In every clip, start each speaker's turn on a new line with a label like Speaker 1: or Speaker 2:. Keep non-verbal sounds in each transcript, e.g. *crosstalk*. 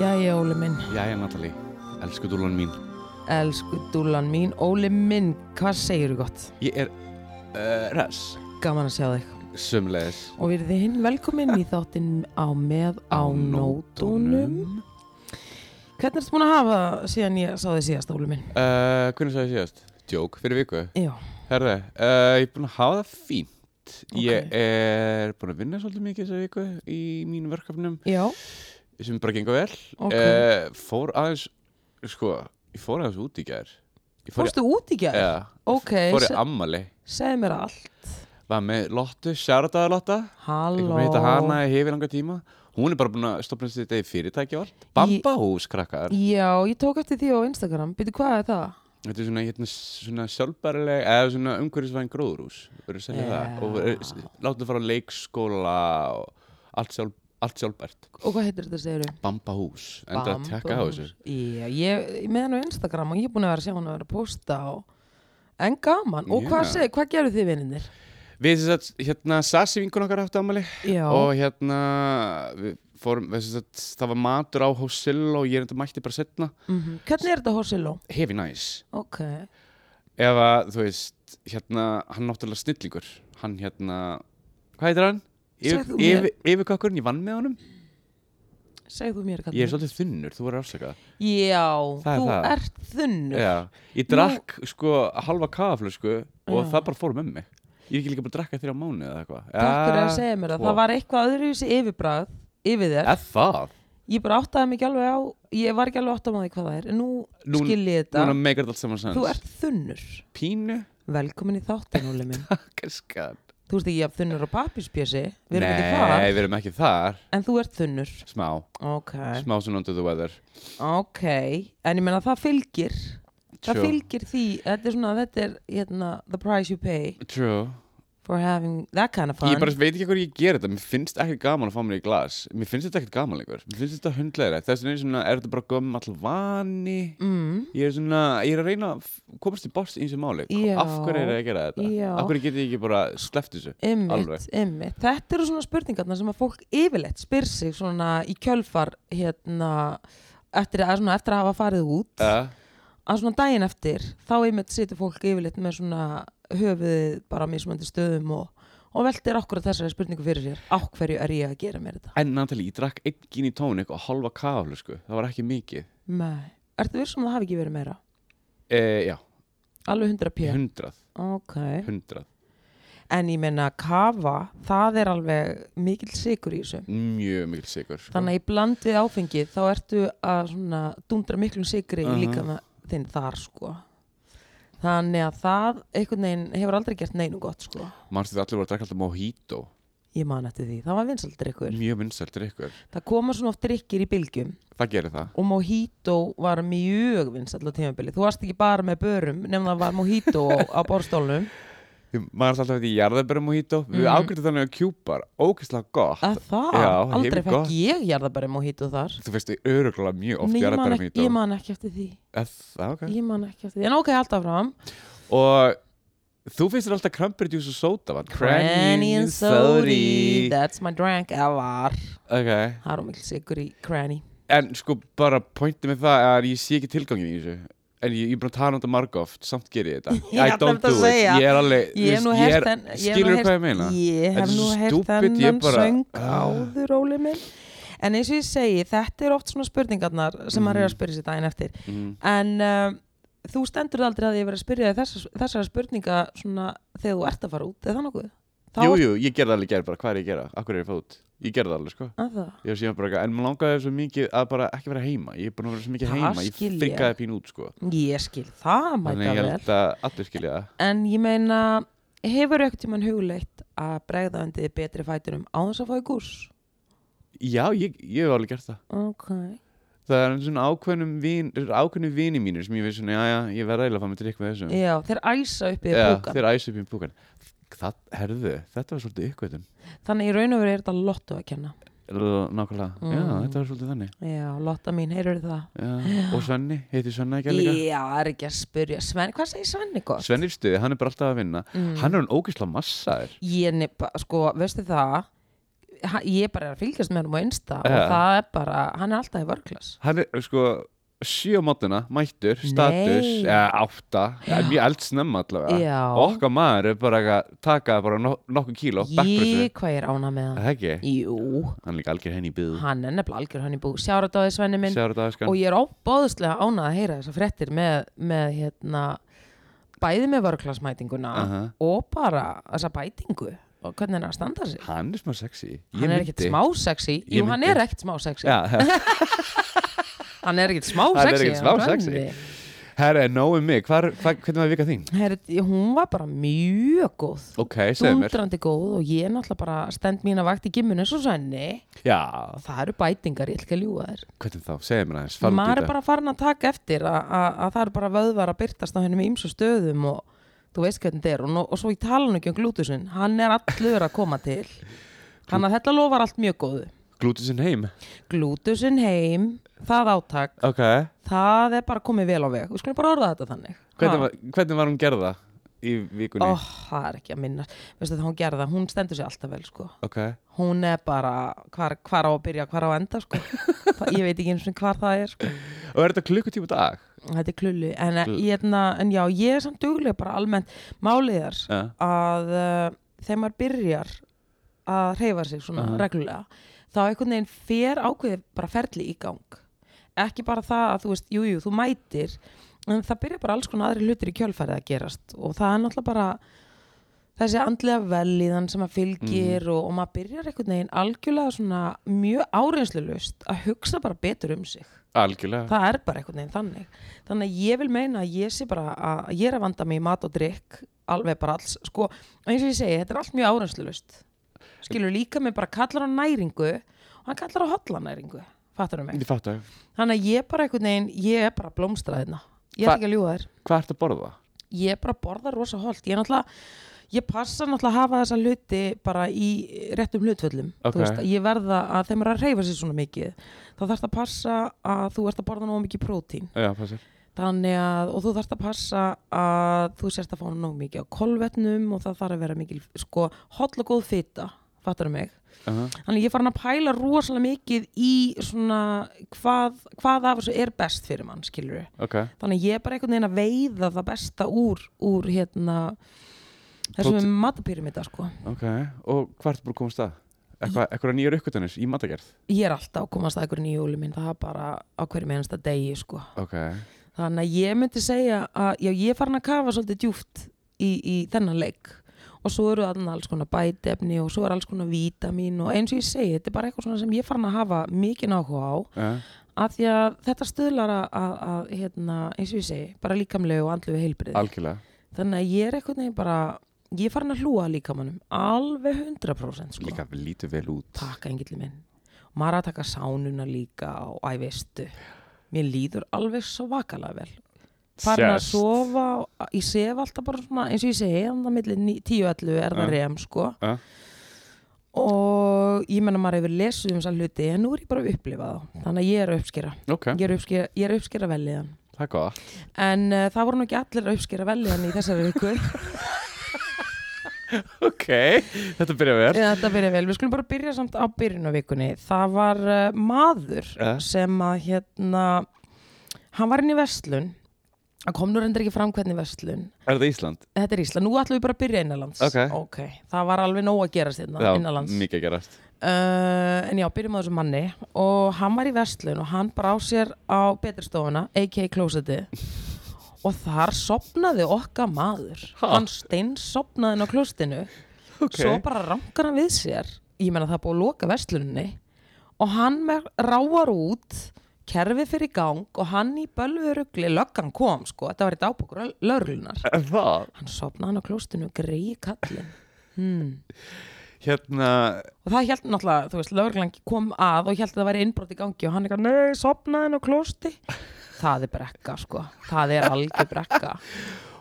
Speaker 1: Jæja, Óli minn,
Speaker 2: Jæja Natali, elsku dúlan mín
Speaker 1: elsku dúlan mín, Óli minn, hvað segirðu gott?
Speaker 2: Ég er uh, res
Speaker 1: Gaman að sjá þig.
Speaker 2: Sumleis
Speaker 1: Og við erum þinn velkomin í þáttinn á með á nótunum. Hvernig ertu búin að hafa það síðan ég sá þig síðast, Óli minn?
Speaker 2: uh, Hvernig sagði ég síðast? Djók, fyrir viku
Speaker 1: Já,
Speaker 2: Herði, uh, ég er búin að hafa það fínt
Speaker 1: Ok.
Speaker 2: Ég er búin að vinna svolítið mikið þessa viku í mínum verkefnum
Speaker 1: já,
Speaker 2: sem bara gengur vel
Speaker 1: Ok.
Speaker 2: Eh, Fór aðeins, sko, ég fór aðeins út í gær Ég fór í-
Speaker 1: fórstu út í gær?
Speaker 2: Já,
Speaker 1: Ok,
Speaker 2: fór í
Speaker 1: se-
Speaker 2: ammali
Speaker 1: segð mér allt.
Speaker 2: Var með Lottu, Sjardaði Lotta Ég kom
Speaker 1: Halló.
Speaker 2: að hitta hana í hefur langa tíma Hún er bara búin að stopna sér þetta í fyrirtæki og allt Bambahús krakkar
Speaker 1: Já, ég tók eftir því á Instagram. Býtu, hvað er það?
Speaker 2: Þetta er svona, hérna, svona sjálfbærileg eða svona umhverfisvæn gróðurús Verður að segja
Speaker 1: Já.
Speaker 2: það og verður- s- látum fara á leikskóla og allt, sjálf, allt sjálfbært
Speaker 1: Og hvað heitir þetta, segirðu?
Speaker 2: Bambahús, enda að tekka á þessu
Speaker 1: Já, ég, ég með hann á Instagram og ég er búin að vera að sjá hann að vera að posta og... En gaman, og hvað,
Speaker 2: Já.
Speaker 1: seg, hvað gerðu þið vinninir?
Speaker 2: Við þess að, hérna, Sassi vinkun okkar átti afmæli
Speaker 1: Já,
Speaker 2: og hérna við fórum, þess að það var matur á Hosil og ég er enda mætti bara setna
Speaker 1: mhm. hvernig er þetta Horsilo?
Speaker 2: Heavy nice
Speaker 1: Ok,
Speaker 2: ef að, þú veist, hérna, hann náttúrulega snillingur, hann hérna, hvað heitir hann?
Speaker 1: Segðu mér.
Speaker 2: Yfir, yfirkakkurinn, ég vann með honum
Speaker 1: segð þú mér
Speaker 2: Ég
Speaker 1: hvernig
Speaker 2: er svolítið þunnur, þú verður afsakað
Speaker 1: Já,
Speaker 2: Það er
Speaker 1: þú
Speaker 2: það.
Speaker 1: ert þunnur
Speaker 2: Já, ég drakk sko halva kafaflösku og
Speaker 1: Já.
Speaker 2: það bara fór með mig Ég er ekki líka bara að drakka þér á mánu eða eitthvað
Speaker 1: Takk fyrir að
Speaker 2: Ja,
Speaker 1: segja mér það,
Speaker 2: tvo.
Speaker 1: það var eitthvað öðruvísi yfirbræð yfir þér
Speaker 2: Er það?
Speaker 1: Ég bara áttaði mig ekki alveg á, ég var ekki alveg áttað með því hvað það er En Nú,
Speaker 2: Nú-
Speaker 1: skil ég þetta,
Speaker 2: Núna meikar þetta allt saman sens
Speaker 1: þú ert þunnur
Speaker 2: Pínu? *laughs*
Speaker 1: Velkomin í þáttin, Óli minn
Speaker 2: Kaskan
Speaker 1: Þú veist ekki að þunnur á pappispjösi, við erum ekki
Speaker 2: Nei,
Speaker 1: þar
Speaker 2: við erum ekki þar
Speaker 1: En þú ert þunnur,
Speaker 2: Smá,
Speaker 1: ok
Speaker 2: smá svona under the weather
Speaker 1: Ok, en ég meina það fylgir Það
Speaker 2: True.
Speaker 1: fylgir því, þetta er svona, þetta er hérna, the price you pay
Speaker 2: True
Speaker 1: for having that kind of fun
Speaker 2: Ég bara veit ekki hverju ég ger þetta, mér finnst ekkert gaman að fá mér í glas Mér finnst þetta ekkert gaman lengur, mér finnst þetta hundlegra Þess vegna er svona, er þetta bara gömum all vani
Speaker 1: mm,
Speaker 2: Ég er svona, ég er að reyna að f- komast í boss í þessu máli Ko-
Speaker 1: Já.
Speaker 2: Af hverju er ég að gera þetta?
Speaker 1: Já.
Speaker 2: Af hverju get ég ekki bara sleppt þessu?
Speaker 1: ymmit,
Speaker 2: Alveg.
Speaker 1: ymmit Þetta eru svona spurningarna sem að fólk yfirleitt spyr sig svona í kjölfar hérna, eftir að, svona, eftir að hafa farið út
Speaker 2: Uh,
Speaker 1: að svona daginn eftir, þá ymmit situr fólk yfirleitt með svona höfuðið bara á mismunandi stöðum og, og veltir okkur að þessari spurningu fyrir sér á hverju er ég að gera mér þetta?
Speaker 2: en Natalie, ég drakk einn gin í tónik og halva kaflu sko Það var ekki mikið
Speaker 1: Nei, ertu vissum að það hafi ekki verið meira?
Speaker 2: uh, Já,
Speaker 1: Alveg 100 pjö
Speaker 2: hundrað,
Speaker 1: Ok,
Speaker 2: hundrað
Speaker 1: en ég meina kafa, það er alveg mikill sigur í þessu.
Speaker 2: Mjög mikil sigur sko.
Speaker 1: Þannig að í bland við áfengið þá ertu að svona dundra miklum sigri uh
Speaker 2: Aha.
Speaker 1: líka með þinn þar sko. Þannig að það einhvern veginn hefur aldrei gert neinu gott sko.
Speaker 2: Manstu þetta allir voru að drakka alltaf mojito
Speaker 1: Ég man eftir því, það var vinsaldir ykkur.
Speaker 2: Mjög vinsæltir ykkur
Speaker 1: Það koma svona oft drikkir í bylgjum
Speaker 2: Það gerir það
Speaker 1: og mojito var mjög vinsall á tímabili. Þú varst ekki bara með börum nefnum það var mojito á, á borstólnum.
Speaker 2: *laughs* Því maður er alltaf þetta í jarðabærum og hító
Speaker 1: Mhm.
Speaker 2: við mm. ágriðum þannig að kjúpar, ógeðslega gott
Speaker 1: Að það,
Speaker 2: Já,
Speaker 1: aldrei
Speaker 2: hefur
Speaker 1: fekk
Speaker 2: gott.
Speaker 1: ég jarðabæri mojito þar.
Speaker 2: þú veist, öruglega mjög oft
Speaker 1: Nei, ég man,
Speaker 2: jarðabærum
Speaker 1: ekki,
Speaker 2: og
Speaker 1: ég
Speaker 2: hító
Speaker 1: man ekki eftir því.
Speaker 2: það, ok
Speaker 1: Ég man ekki eftir því, en ok, alltaf fram
Speaker 2: og þú finnst þér alltaf cranberry juice og soda vatn
Speaker 1: Cranny and Sody That's my drink ever
Speaker 2: ok,
Speaker 1: Það er ómikl sigur í Cranny
Speaker 2: en sko bara pointið með það er að ég sé ekki tilgangin í þessu en ég, ég er búin að tala um þetta margóft samt ger ég þetta
Speaker 1: *laughs* Ég ætla einmitt að segja.
Speaker 2: ég er alveg,
Speaker 1: Ég hef
Speaker 2: þú
Speaker 1: nú
Speaker 2: veist,
Speaker 1: heyrt þenn
Speaker 2: ég er, skilur hvað ég meina
Speaker 1: Ég
Speaker 2: Þetta
Speaker 1: hef
Speaker 2: er
Speaker 1: nú
Speaker 2: svo
Speaker 1: heyrt
Speaker 2: stúpid, ég
Speaker 1: þennan
Speaker 2: bara-
Speaker 1: söng
Speaker 2: Ah.
Speaker 1: áður, Óli minn En eins og ég segi, þetta er oft svona spurningarnar sem maður er að spyrja sér daginn eftir
Speaker 2: Mhm.
Speaker 1: En um, þú stendur aldrei að ég verið að spyrja þessar, þessara spurninga svona þegar þú ert að fara út, er það nokkuð? Þá
Speaker 2: jú,
Speaker 1: ert-
Speaker 2: jú, ég gerði alveg gerð bara, hvað er ég að gera, akkur er ég að fá út ég gerði það alveg sko
Speaker 1: Að það.
Speaker 2: Ég var síðan bara eitthvað, en maður langaði svo mikið að bara ekki vera heima. Ég er búin að vera svo mikið
Speaker 1: Það
Speaker 2: heima, ég
Speaker 1: skil ég. Oh
Speaker 2: frikkaði pín út, sko.
Speaker 1: Ég skil það mæta
Speaker 2: Þannig ég
Speaker 1: vel
Speaker 2: held að allir skilja það.
Speaker 1: En ég meina, hefur eitthvað tíman hugleitt að bregða undir betri fæturum á þess að fá í gús?
Speaker 2: Já, ég, ég hef alveg gert það.
Speaker 1: Ok.
Speaker 2: Það er svona ákveðnum vin, ákveðnum vini mínir sem ég veist svona, já, já, ég verði eiginlega að fá mig drikk með þessum.
Speaker 1: Já, þeir æsa upp í
Speaker 2: Já,
Speaker 1: búkan.
Speaker 2: Þeir æsa upp í búkan. Það, herðu, þetta var svolítið ykkurðum.
Speaker 1: Þannig í raun og veru er þetta lottu að kenna.
Speaker 2: nákvæmlega, já,
Speaker 1: Mm.
Speaker 2: þetta var svolítið þannig
Speaker 1: Já, Lotta mín, heyrðu það
Speaker 2: já. og Svenni, heiti Svenni ekki líka
Speaker 1: Já, það er ekki að spyrja Svenni, hvað segir Svenni gott?
Speaker 2: Svenni í stuði, hann er bara alltaf að vinna
Speaker 1: Mm.
Speaker 2: hann er hann ógislega massaður
Speaker 1: Ég nefna, sko, veistu það ha- Ég bara er að fylgjast með hann á einsta
Speaker 2: Já.
Speaker 1: og það er bara, hann er alltaf í vörglas
Speaker 2: hann er sko sjö á mótuna, mættur,
Speaker 1: Nei.
Speaker 2: status eða átta, eða mjög eldsnemma allavega
Speaker 1: Já.
Speaker 2: okkar maður er bara að taka bara no nokkuð kíló, backpressu
Speaker 1: Ég, hvað ég er ána með
Speaker 2: Er
Speaker 1: hann?
Speaker 2: það ekki,
Speaker 1: Jú,
Speaker 2: hann er líka algjör henni í byðu
Speaker 1: hann er nefnilega algjör hann í bú Sjáratáði Svenni minn
Speaker 2: Sjára dagaskan
Speaker 1: og ég er óbóðslega ánað að heyra þessar fréttir með, með hérna bæði með vörglasmætinguna
Speaker 2: Aha.
Speaker 1: og bara þessa bætingu og hvernig hann er að standa sig
Speaker 2: hann er smá sexy Ég
Speaker 1: hann er ekkert
Speaker 2: myndi-
Speaker 1: smá sexy
Speaker 2: Ég
Speaker 1: jú hann
Speaker 2: myndi.
Speaker 1: er ekkert smá sexy *laughs*
Speaker 2: Já,
Speaker 1: hann er ekkert smá
Speaker 2: Hann er
Speaker 1: sexy
Speaker 2: ekkert smá
Speaker 1: hann
Speaker 2: sexy.
Speaker 1: Rannvi.
Speaker 2: herra, nóg um mig, hvar, hvar, hvernig var vika þín?
Speaker 1: Herri, hún var bara mjög góð
Speaker 2: Ok, segðu mér
Speaker 1: dundrandi góð og ég er náttúrulega bara stend mín að vakt í gimminu svo svenni
Speaker 2: Já,
Speaker 1: það eru bætingar, ég ætla ekki að ljúga þér
Speaker 2: hvernig þá, segðu mér aðeins farðu út í
Speaker 1: maður er
Speaker 2: þetta.
Speaker 1: bara farin að taka eftir að, að, að það eru bara vöðvar að byrtast á hennum ímsu stöðum og þú veist hvernig þetta er og, nú- og svo ég tala hann ekki um glútusinn hann er allur að koma til hann að þetta lofar allt mjög góðu
Speaker 2: Glútið sinn heim
Speaker 1: glútusinn heim, það átak
Speaker 2: Ok,
Speaker 1: það er bara komið vel á veg við skulum bara orða þetta þannig
Speaker 2: hvernig
Speaker 1: Ha. Oh.
Speaker 2: var, hvernig var hún gerða í vikunni?
Speaker 1: Ó, það er ekki að minna veistu það hún gerða, hún stendur sér alltaf vel sko
Speaker 2: Ok,
Speaker 1: hún er bara, hvar, hvar á að byrja hvar á að enda
Speaker 2: *laughs*
Speaker 1: sko, það, ég veit ekki eins og hvar það er sko
Speaker 2: og er þetta klukkutíma á dag?
Speaker 1: Þetta er klullu, en, hérna, en já, ég er samt duglega bara almennt máliðar
Speaker 2: Já,
Speaker 1: að uh, þegar maður byrjar að hreyfa sig svona
Speaker 2: Aha.
Speaker 1: reglulega þá einhvern veginn fer ákveðið bara ferli í gang ekki bara það að þú veist, jú, jú, þú mætir en það byrja bara alls konar aðri hlutir í kjölfærið að gerast og það er náttúrulega bara þessi andlega velíðan sem að fylgir
Speaker 2: Mhm.
Speaker 1: og, og maður byrjar einhvern veginn algjörlega svona mjög áreynslulust að hugsa bara betur um sig
Speaker 2: algjörlega
Speaker 1: það er bara einhvern veginn þannig þannig að ég vil meina að ég sé bara að ég er að vanda mig í mat og drikk alveg bara alls, sko, eins og ég segi þetta er allt mjög áreinslulust skilur líka mig bara kallar á næringu og hann kallar á hollanæringu, fattar mig
Speaker 2: Ég fattu,
Speaker 1: þannig að ég bara einhvern veginn, ég er bara blómstraðina ég er
Speaker 2: Hva-
Speaker 1: ekki að ljúga þér
Speaker 2: hvað ertu að borða?
Speaker 1: ég bara borða rosa holdt ég náttúrulega, ég passa náttúrulega að hafa þessa hluti bara í réttum hlutföllum
Speaker 2: Ok.
Speaker 1: þú veist, að ég verða að þeim er að reyfa sér svona mikið þá þarfst að passa að þú ert að borða nóg mikið prótín
Speaker 2: Já, passir
Speaker 1: þannig að, og þú þarft að passa að þú sérst að fá nóg mikið á kolvetnum og það þarf að vera mikil sko, holl og góð fita, fattar mig
Speaker 2: uh -huh.
Speaker 1: þannig að ég er farin að pæla rosalega mikið í svona hvað, hvað af þessu er best fyrir mann, skilur
Speaker 2: Ok,
Speaker 1: þannig að ég er bara einhvern veginn að veiða það besta úr, úr hérna
Speaker 2: Próte-
Speaker 1: þessum matapyramida, sko
Speaker 2: ok, og hvað ertu búin að komast að? Eitthvað, eitthvað nýjar uppgötanir í matagerð?
Speaker 1: ég er alltaf að komast að einhverjum í júli minn það er bara á hverjum einasta degi, sko
Speaker 2: Ok,
Speaker 1: Þannig að ég myndi segja að já, ég er farin að kafa svolítið djúft í, í þennan leik og svo eru þarna alls konar bætefni og svo er alls konar vítamin og eins og ég segi, þetta er bara eitthvað svona sem ég er farin að hafa mikið náhuga á
Speaker 2: uh,
Speaker 1: af því að þetta stuðlar að, að, að hérna, eins og ég segi, bara líkamlegu og andlegu heilbrið.
Speaker 2: algjörlega
Speaker 1: Þannig að ég er eitthvað neginn bara, ég er farin að hlúa að líkamannum alveg 100% sko.
Speaker 2: Líka lítur vel út
Speaker 1: Takk engilli minn. Og maður er að taka sánuna líka og æ veistu. Mér líður alveg svakalega vel. Farin að
Speaker 2: Sést.
Speaker 1: sofa, og- ég sef alltaf bara svona, eins og ég segi, þannig að milli 10-11 er það
Speaker 2: Ja.
Speaker 1: rem, sko.
Speaker 2: Ja.
Speaker 1: Og ég menna maður hefur lesið um þessa hluti, en nú er ég bara að upplifa þá. Þannig að ég er að uppskera.
Speaker 2: Ok,
Speaker 1: Ég er að uppskera, ég er að uppskera veliðan.
Speaker 2: það er gott
Speaker 1: En uh, það voru nú ekki allir að uppskera veliðan í þessari viku.
Speaker 2: *laughs* Ok, þetta byrja vel
Speaker 1: Já, þetta byrja vel. Við skulum bara byrja samt á byrjun á vikunni. Það var uh, maður
Speaker 2: Ja.
Speaker 1: sem að hérna, hann var inn í Vestlun. Hann kom nú reyndir ekki fram hvernig Vestlun.
Speaker 2: Er þetta Ísland?
Speaker 1: Þetta er Ísland. Nú ætlum við bara að byrja innanlands.
Speaker 2: Ok.
Speaker 1: Það var alveg nóg að gera sérna
Speaker 2: Já,
Speaker 1: innanlands.
Speaker 2: mikið að gerast
Speaker 1: Uh, en já, byrjum á þessum manni og hann var í Vestlun og hann brá sér á betristofuna, a.k.a.
Speaker 2: *laughs*
Speaker 1: klósetti og þar sopnaði okka maður.
Speaker 2: Ha?
Speaker 1: Hann stein sopnaði inn á klóstinu
Speaker 2: Ok,
Speaker 1: svo bara rangar hann við sér ég meina það er búið að loka vestlunni og hann með ráar út kerfið fyrir í gang og hann í bölvurugli löggan kom sko, þetta var í dábúkur lögurlunar
Speaker 2: er það?
Speaker 1: hann sopnaði hann á klóstinu greið kallinn hmm.
Speaker 2: Hérna,
Speaker 1: og það held náttúrulega, þú veist, lögurlan kom að og held að það væri innbrot í gangi og hann eitthvað, nei, sopnaði hann á klósti það er brekka sko, það er algjör brekka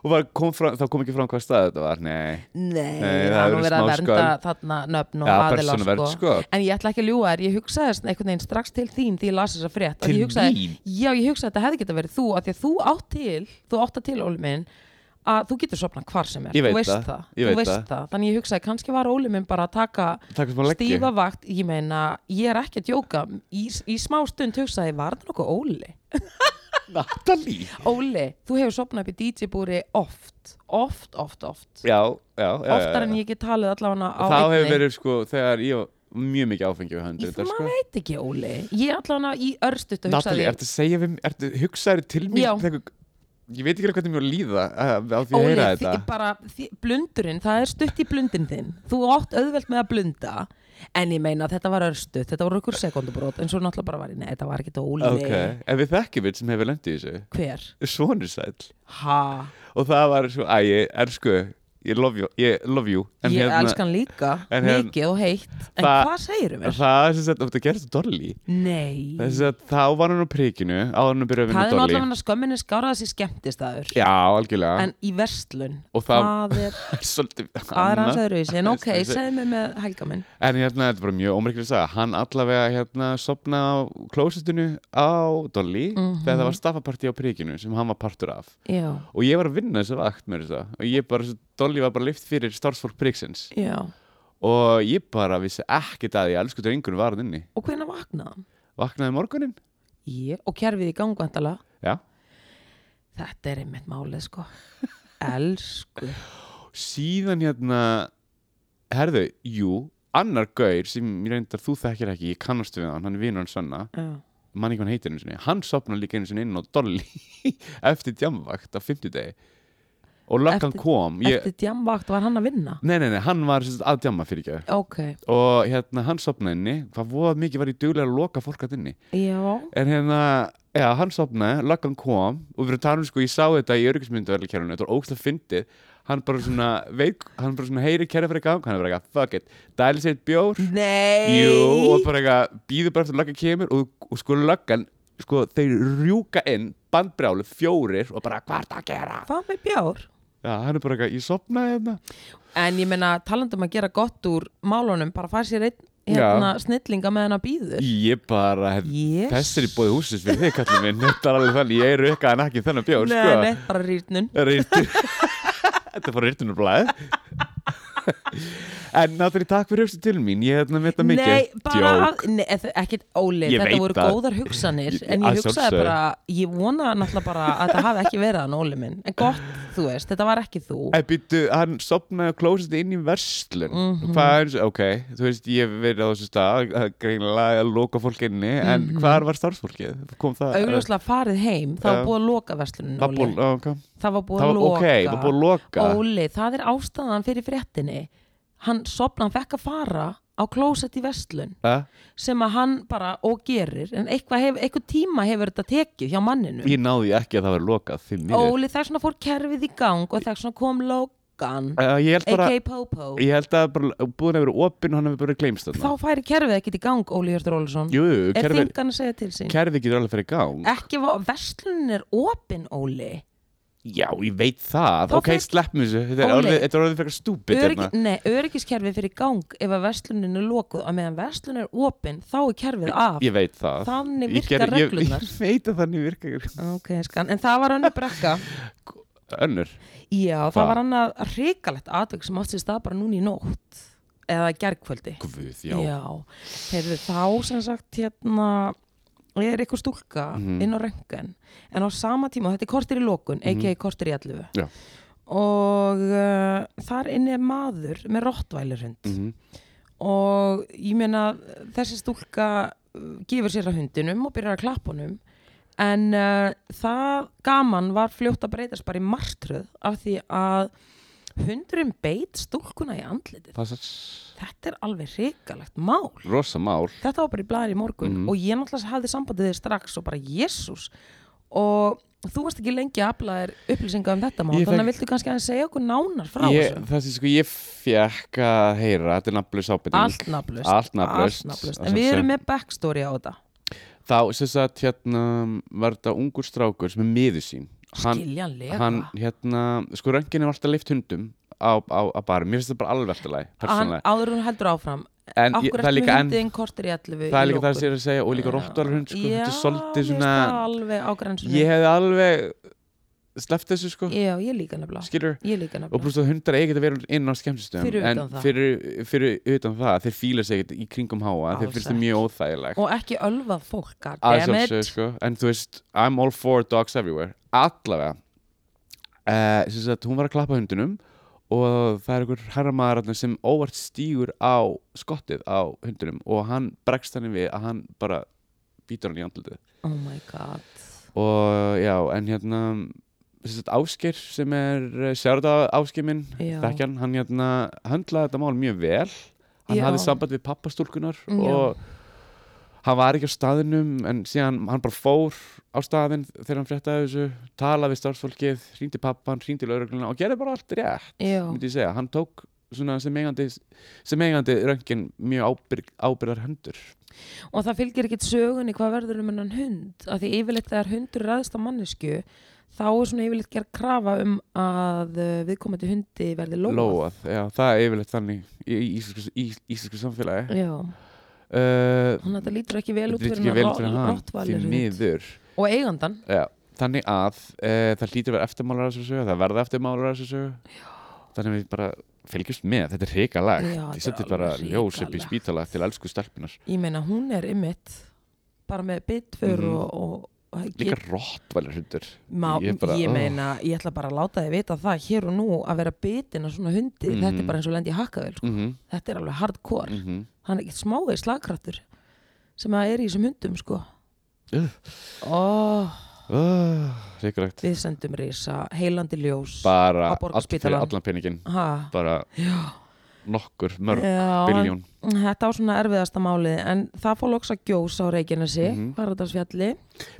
Speaker 2: og var, kom fram, þá kom ekki fram hvað stað þetta var nei,
Speaker 1: Nei,
Speaker 2: Nei, það
Speaker 1: það er nú
Speaker 2: hefur
Speaker 1: verið
Speaker 2: verið
Speaker 1: að
Speaker 2: smá
Speaker 1: vernda þarna nöfn og
Speaker 2: Ja,
Speaker 1: aðila
Speaker 2: persónuvernd, sko.
Speaker 1: En ég ætla ekki að ljúga þér, ég hugsaði þess- einhvern veginn strax til þín því ég las þess að frétt að
Speaker 2: Til
Speaker 1: ég hugsaði,
Speaker 2: mín?
Speaker 1: Já, ég hugsaði að þetta hefði geta verið þú af því að þú átt til, þú átt það til Óli minn að þú getur sopnað hvar sem er
Speaker 2: Ég veit
Speaker 1: þú veist
Speaker 2: það,
Speaker 1: það,
Speaker 2: ég
Speaker 1: þú
Speaker 2: veit
Speaker 1: veist
Speaker 2: það.
Speaker 1: það. Þannig ég hugsaði, kannski var Óli minn bara að taka
Speaker 2: takk sem að leggja
Speaker 1: stífa vakt, ég meina ég er ekki að djóka, í, í smá stund hugsaði, var það nokkuð Óli?
Speaker 2: Natalie
Speaker 1: Óli, þú hefur sopnað upp í DJ-búri oft, oft, oft, oft
Speaker 2: já, já, já,
Speaker 1: oftar
Speaker 2: já,
Speaker 1: en
Speaker 2: já.
Speaker 1: ég get talið allavega á
Speaker 2: Eh, þá hefur
Speaker 1: einni.
Speaker 2: verið sko þegar ég var mjög mikið áfengi á
Speaker 1: Ég
Speaker 2: höndu
Speaker 1: það
Speaker 2: sko.
Speaker 1: maður veit ekki, Óli. Ég allavega í örstut að hugsa
Speaker 2: Natalie, ertu að segja við ertu, hugsaður til mér
Speaker 1: Já.
Speaker 2: þegar, ég veit ekki alveg hvernig mér var að líða uh, á því að
Speaker 1: Óli,
Speaker 2: heyra
Speaker 1: þi-
Speaker 2: þetta
Speaker 1: bara, þi- blundurinn, það er stutt í blundin þinn. Þú átt auðvelt með að blunda, en ég meina þetta var örstut, þetta voru ykkur sekundubrót, en svo náttúrulega bara var ég, nei, þetta var ekki Óli.
Speaker 2: ok, en við þekkjum við sem hefur lendið í þessu
Speaker 1: Hver?
Speaker 2: Svonur sæll
Speaker 1: Ha?
Speaker 2: og það var svo, æ, ég elsku ég love you, ég love you. En
Speaker 1: Ég
Speaker 2: hérna-
Speaker 1: elskan líka,
Speaker 2: en hérna-
Speaker 1: mikið og heitt. En
Speaker 2: Það-
Speaker 1: hvað segirum
Speaker 2: En
Speaker 1: við?
Speaker 2: það er sem sagt, þetta gerðist á Dolly
Speaker 1: Nei.
Speaker 2: þess að þá var hann á prikinu áður en að byrja
Speaker 1: Það
Speaker 2: að vinna
Speaker 1: er
Speaker 2: Dolly
Speaker 1: náttúrulega skömminni skáraði sér skemmtistæður.
Speaker 2: já, algjörlega,
Speaker 1: En í verslun,
Speaker 2: Og *laughs* það-
Speaker 1: það er
Speaker 2: *laughs* svolítið
Speaker 1: aðra hans
Speaker 2: annað.
Speaker 1: öðruvísi. En ok,
Speaker 2: Þessi-
Speaker 1: segðu mig með helga minn.
Speaker 2: en hérna, þetta er bara mjög ómerkilega að sagða hann allavega hérna sopna á klósitinu á Dolly þegar það
Speaker 1: Mhm.
Speaker 2: var staffapartí á prikinu sem hann var partur af
Speaker 1: Já,
Speaker 2: og ég var að vinna þessa vakt með þess að og ég bara, Dolly var bara lyft fyrir starfsfólk priksins
Speaker 1: já.
Speaker 2: og ég bara vissi ekkert að ég elsku drengunum var hann inni
Speaker 1: Og hvenær vaknaði hann?
Speaker 2: vaknaði morgunin
Speaker 1: Ég, og kerfið í gangvandala.
Speaker 2: Já.
Speaker 1: Þetta er einmitt málið, *laughs* sko. Elsku.
Speaker 2: síðan hérna herðu, jú, annar gaur sem ég reyndar þú þekkir ekki, ég kannast við hann hann er vinur hann sanna,
Speaker 1: Já.
Speaker 2: mann ekki hvað hann heitir einu sinni hann sopnar líka einu sinni inn á dolli *laughs* eftir djamvakt á fimmtudegi og löggan
Speaker 1: Eftir-
Speaker 2: kom ég,
Speaker 1: Eftir djamvakt var hann að vinna.
Speaker 2: nei, nei, nei, hann var sem sagt að djamma fyrir ekki
Speaker 1: Ok,
Speaker 2: og hérna hann sopnaði inni hvað voða mikið var í duglega að loka fólk að inni
Speaker 1: já.
Speaker 2: en hérna, já, hann sopnaði löggan kom og við erum talað um sko, ég sá þetta í öryggismyndaverðlikjærunni, þetta var ógstlega fyndið hann bara svona, veik, hann bara svona heyri kæra fyrir gang, hann er bara eitthvað, fuck it dæli sér eitt bjór,
Speaker 1: Nei.
Speaker 2: jú og bara eitthvað, býður bara eftir að löggan kemur og, og sko löggan, sko, þeir rjúka inn, bandbrjálu, fjórir og bara, hvað er það að gera?
Speaker 1: Hvað með bjár?
Speaker 2: Já, hann er bara eitthvað, ég sopnaði hérna
Speaker 1: En ég meina, talandum að gera gott úr málunum, bara fær sér einn hérna, snillinga með hennar býður.
Speaker 2: ég bara,
Speaker 1: Yes.
Speaker 2: þessir í bóði húsins fyrir þig, kallið minn, þetta er alveg þannig ég er rjúkaðan ekki þennan bjór,
Speaker 1: Nei,
Speaker 2: sko
Speaker 1: nei, bara rýrnun.
Speaker 2: Rýrtur Þetta er bara rýrtunurblæð En náttúrulega takk fyrir hugstu til mín Ég hefði með þetta mikið
Speaker 1: Nei, bara
Speaker 2: Djók.
Speaker 1: að, nei, eð- ekkert óli,
Speaker 2: Ég
Speaker 1: þetta
Speaker 2: veit
Speaker 1: voru
Speaker 2: það.
Speaker 1: góðar hugsanir
Speaker 2: Ég-
Speaker 1: en ég
Speaker 2: að
Speaker 1: hugsaði
Speaker 2: sjálfsögðu.
Speaker 1: bara, ég vona náttúrulega bara að það hafi ekki verið hann óli minn en gott, þú veist, þetta var ekki þú
Speaker 2: En býttu, hann sopnaði og klósiti inn í verslun
Speaker 1: Mhm.
Speaker 2: Hvað er, ok, þú veist Ég hef verið á þessu stað að greinlega að loka fólk inni En hvar var starfsfólkið? Kom það?
Speaker 1: Mhm. augljóslega farið heim, það var
Speaker 2: Já.
Speaker 1: búið að loka verslunin
Speaker 2: Það var
Speaker 1: Óli,
Speaker 2: búið, ok
Speaker 1: það var búið
Speaker 2: Það
Speaker 1: að
Speaker 2: var ok,
Speaker 1: loka
Speaker 2: það var búið að loka
Speaker 1: Óli, það er ástæðan fyrir fréttinni hann sopna, hann fekk að fara á klósett í verslun
Speaker 2: Eh?
Speaker 1: sem að hann bara og gerir en eitthvað, hef, eitthvað tíma hefur þetta tekið hjá manninu
Speaker 2: Ég náði ekki að það var lokað því miður
Speaker 1: Óli, þess vegna fór kerfið í gang og þess vegna kom lokan
Speaker 2: Eh, Ég held bara
Speaker 1: a.k.a. Popo
Speaker 2: Ég held að bara búin að vera opinn og hann hefur bara gleymst
Speaker 1: þá
Speaker 2: þarna
Speaker 1: færi kerfið ekkit í gang, Óli Hjörtur Ólusson
Speaker 2: Jú, jú,
Speaker 1: er
Speaker 2: kerfi,
Speaker 1: þingan að segja til sín
Speaker 2: kerfi getur alveg fyrir gang
Speaker 1: ekki, verslunin er opin, Óli
Speaker 2: Já, ég veit það,
Speaker 1: Þá
Speaker 2: ok,
Speaker 1: fer-
Speaker 2: sleppum þessu Þetta er
Speaker 1: Óli.
Speaker 2: orðið, þetta er orðið fyrir stúpid
Speaker 1: Öryggi,
Speaker 2: hérna.
Speaker 1: nei, öryggiskerfið fyrir í gang ef að verslunin er lokuð og meðan verslunin er opin þá er kerfið af
Speaker 2: Ég veit það
Speaker 1: þannig
Speaker 2: Ég
Speaker 1: virka
Speaker 2: gerði- ég- *laughs*
Speaker 1: reglunar
Speaker 2: Ég veit að þannig virka
Speaker 1: ok, skan, en það var hann að brekka
Speaker 2: Önnur
Speaker 1: já,
Speaker 2: Hva?
Speaker 1: það var hann að hrikalegt atvik sem átti sér stað bara núna í nótt eða gergkvöldi
Speaker 2: Guð, já,
Speaker 1: já, heyrðu þá sem sagt hérna er ykkur stúlka
Speaker 2: Mhm.
Speaker 1: inn á röngan en á sama tíma, þetta er kortir í lokun mm -hmm. kortir í allu
Speaker 2: Já.
Speaker 1: og uh, þar inni er maður með rottvælurhund
Speaker 2: Mhm.
Speaker 1: og ég meina þessi stúlka uh, gefur sér að hundinum og byrjar að klappa honum en uh, það gaman var fljótt að breytast bara í martröð af því að hundurinn beit stúlkuna í andlitið
Speaker 2: Það er
Speaker 1: þetta er alveg hrikalegt mál
Speaker 2: rosa mál
Speaker 1: þetta var bara í blæðir í morgun
Speaker 2: Mhm.
Speaker 1: og ég náttúrulega hafði sambandið þig strax og bara jésús og þú varst ekki lengi að afla þér upplýsinga um þetta mál
Speaker 2: Ég
Speaker 1: þannig að
Speaker 2: fekk-
Speaker 1: viltu kannski að segja okkur nánar frá
Speaker 2: ég,
Speaker 1: þessu
Speaker 2: Það sem sko ég fekk að heyra Þetta er nafnlaus ábyrning
Speaker 1: allt nafnlust
Speaker 2: Allt nafnlaust, að
Speaker 1: en við
Speaker 2: sjálfsögðu.
Speaker 1: erum með backstory á þetta
Speaker 2: Þá sem sagt hérna var þetta ungur strákur sem er miður sín hann,
Speaker 1: skiljanlega
Speaker 2: hann hérna, sko röngin er alltaf leift hundum á, á, á barum, mér finnst það bara alveg alltaf læg,
Speaker 1: hann
Speaker 2: persónulega
Speaker 1: áður en hún heldur áfram
Speaker 2: en ég,
Speaker 1: okkur
Speaker 2: það er
Speaker 1: eftir
Speaker 2: líka,
Speaker 1: með
Speaker 2: en,
Speaker 1: hundiðin kortir í 11
Speaker 2: það er líka
Speaker 1: í
Speaker 2: það
Speaker 1: lokum.
Speaker 2: sem ég er að segja og líka
Speaker 1: Já.
Speaker 2: róttarhund, sko,
Speaker 1: Já,
Speaker 2: þetta er svolítið
Speaker 1: mér
Speaker 2: svona
Speaker 1: finnst það alveg á grænsinu
Speaker 2: ég hefði alveg sleppt þessu, sko,
Speaker 1: já, ég líka nefnilega
Speaker 2: skilur
Speaker 1: ég líka
Speaker 2: og
Speaker 1: nefnilega
Speaker 2: pluss að hundar eiga að vera inn á skemmtistöðum
Speaker 1: Fyrir utan
Speaker 2: en
Speaker 1: það.
Speaker 2: fyrir, fyrir utan það, þeir fíla sig ekkert í kringum háa, þeir
Speaker 1: Alls
Speaker 2: finnst það
Speaker 1: ekki.
Speaker 2: mjög óþægilegt
Speaker 1: og ekki ölvað fólk, god
Speaker 2: Að
Speaker 1: damn
Speaker 2: sjálfsögðu,
Speaker 1: it
Speaker 2: sko. en þú veist, I'm all for dogs everywhere allavega uh, sem sagt, hún var að klappa hundinum og það er einhver herramaður þarna sem óvart stígur á skottið á hundinum og hann bregst þannig við að hann bara býtur hann í andlitið
Speaker 1: oh my god
Speaker 2: og já, en hérna sem sagt, Ásker sem er eh, sjárða Ásker minn,
Speaker 1: Já.
Speaker 2: þekkjan hann hérna höndlaði þetta mál mjög vel hann
Speaker 1: Já.
Speaker 2: hafði samband við pappastúlkunar
Speaker 1: Já.
Speaker 2: og hann var ekki á staðinum en síðan hann bara fór á staðin þegar hann fréttaði þessu talaði við starfsfólkið, hringdi pappan, hringdi laurugluna og gerði bara allt rétt
Speaker 1: já,
Speaker 2: myndi ég segja, hann tók svona sem eigandi, sem eigandi röngin mjög ábyrg, ábyrgar hendur
Speaker 1: og það fylgir ekkit sögunni hvað verður um hennan hund af því yfirleitt þegar hundur ræðist á mannesku þá er svona yfirleitt gerð krafa um að uh, viðkomandi hundi verði lóað
Speaker 2: lóað, já, það er yfirleitt þannig í í íslensku, í, íslensku samfélagi
Speaker 1: já,
Speaker 2: uh,
Speaker 1: þannig að þetta lítur ekki vel út
Speaker 2: þetta
Speaker 1: fyrir
Speaker 2: lítur ekki vel út fyrir
Speaker 1: þennan
Speaker 2: hann
Speaker 1: rottvalir
Speaker 2: því
Speaker 1: hund
Speaker 2: miður
Speaker 1: og eigandan
Speaker 2: já, þannig að uh, það lítur verið eftirmálar af þessu sögu, það verða eftirmálar af þessu sögu þannig að við bara fylgjumst með, þetta er hrikalegt
Speaker 1: Já, þetta
Speaker 2: ég
Speaker 1: er
Speaker 2: seti bara
Speaker 1: alveg
Speaker 2: ljós upp í
Speaker 1: hrikalegt.
Speaker 2: spítala til elsku stelpunar
Speaker 1: ég meina hún er ymmit bara með bitfur
Speaker 2: Mhm.
Speaker 1: og, og
Speaker 2: líka rottvælar hundur
Speaker 1: Má,
Speaker 2: Ég
Speaker 1: ég,
Speaker 2: bara, oh.
Speaker 1: meina, ég ætla bara að láta þið vita það hér og nú að vera bitin af svona hundi,
Speaker 2: Mhm.
Speaker 1: þetta er bara eins og lendi í hakkavel sko.
Speaker 2: mm -hmm,
Speaker 1: þetta er alveg hardcore
Speaker 2: mm -hmm.
Speaker 1: hann er ekkert smávegis slagkraftur sem að er í þessum hundum sko
Speaker 2: Ugh.
Speaker 1: oh,
Speaker 2: Ah, hrikalegt
Speaker 1: við sendum risa heilandi ljós Á
Speaker 2: bara allt fyrir
Speaker 1: Borgarspítalann.
Speaker 2: allan peningin
Speaker 1: ha,
Speaker 2: bara
Speaker 1: já,
Speaker 2: nokkur, mörg,
Speaker 1: já en,
Speaker 2: biljón
Speaker 1: þetta á svona erfiðasta málið en það fór loks að gjósa á Reykjanesi mm
Speaker 2: Mhm.
Speaker 1: -hmm. Haraldarsfjalli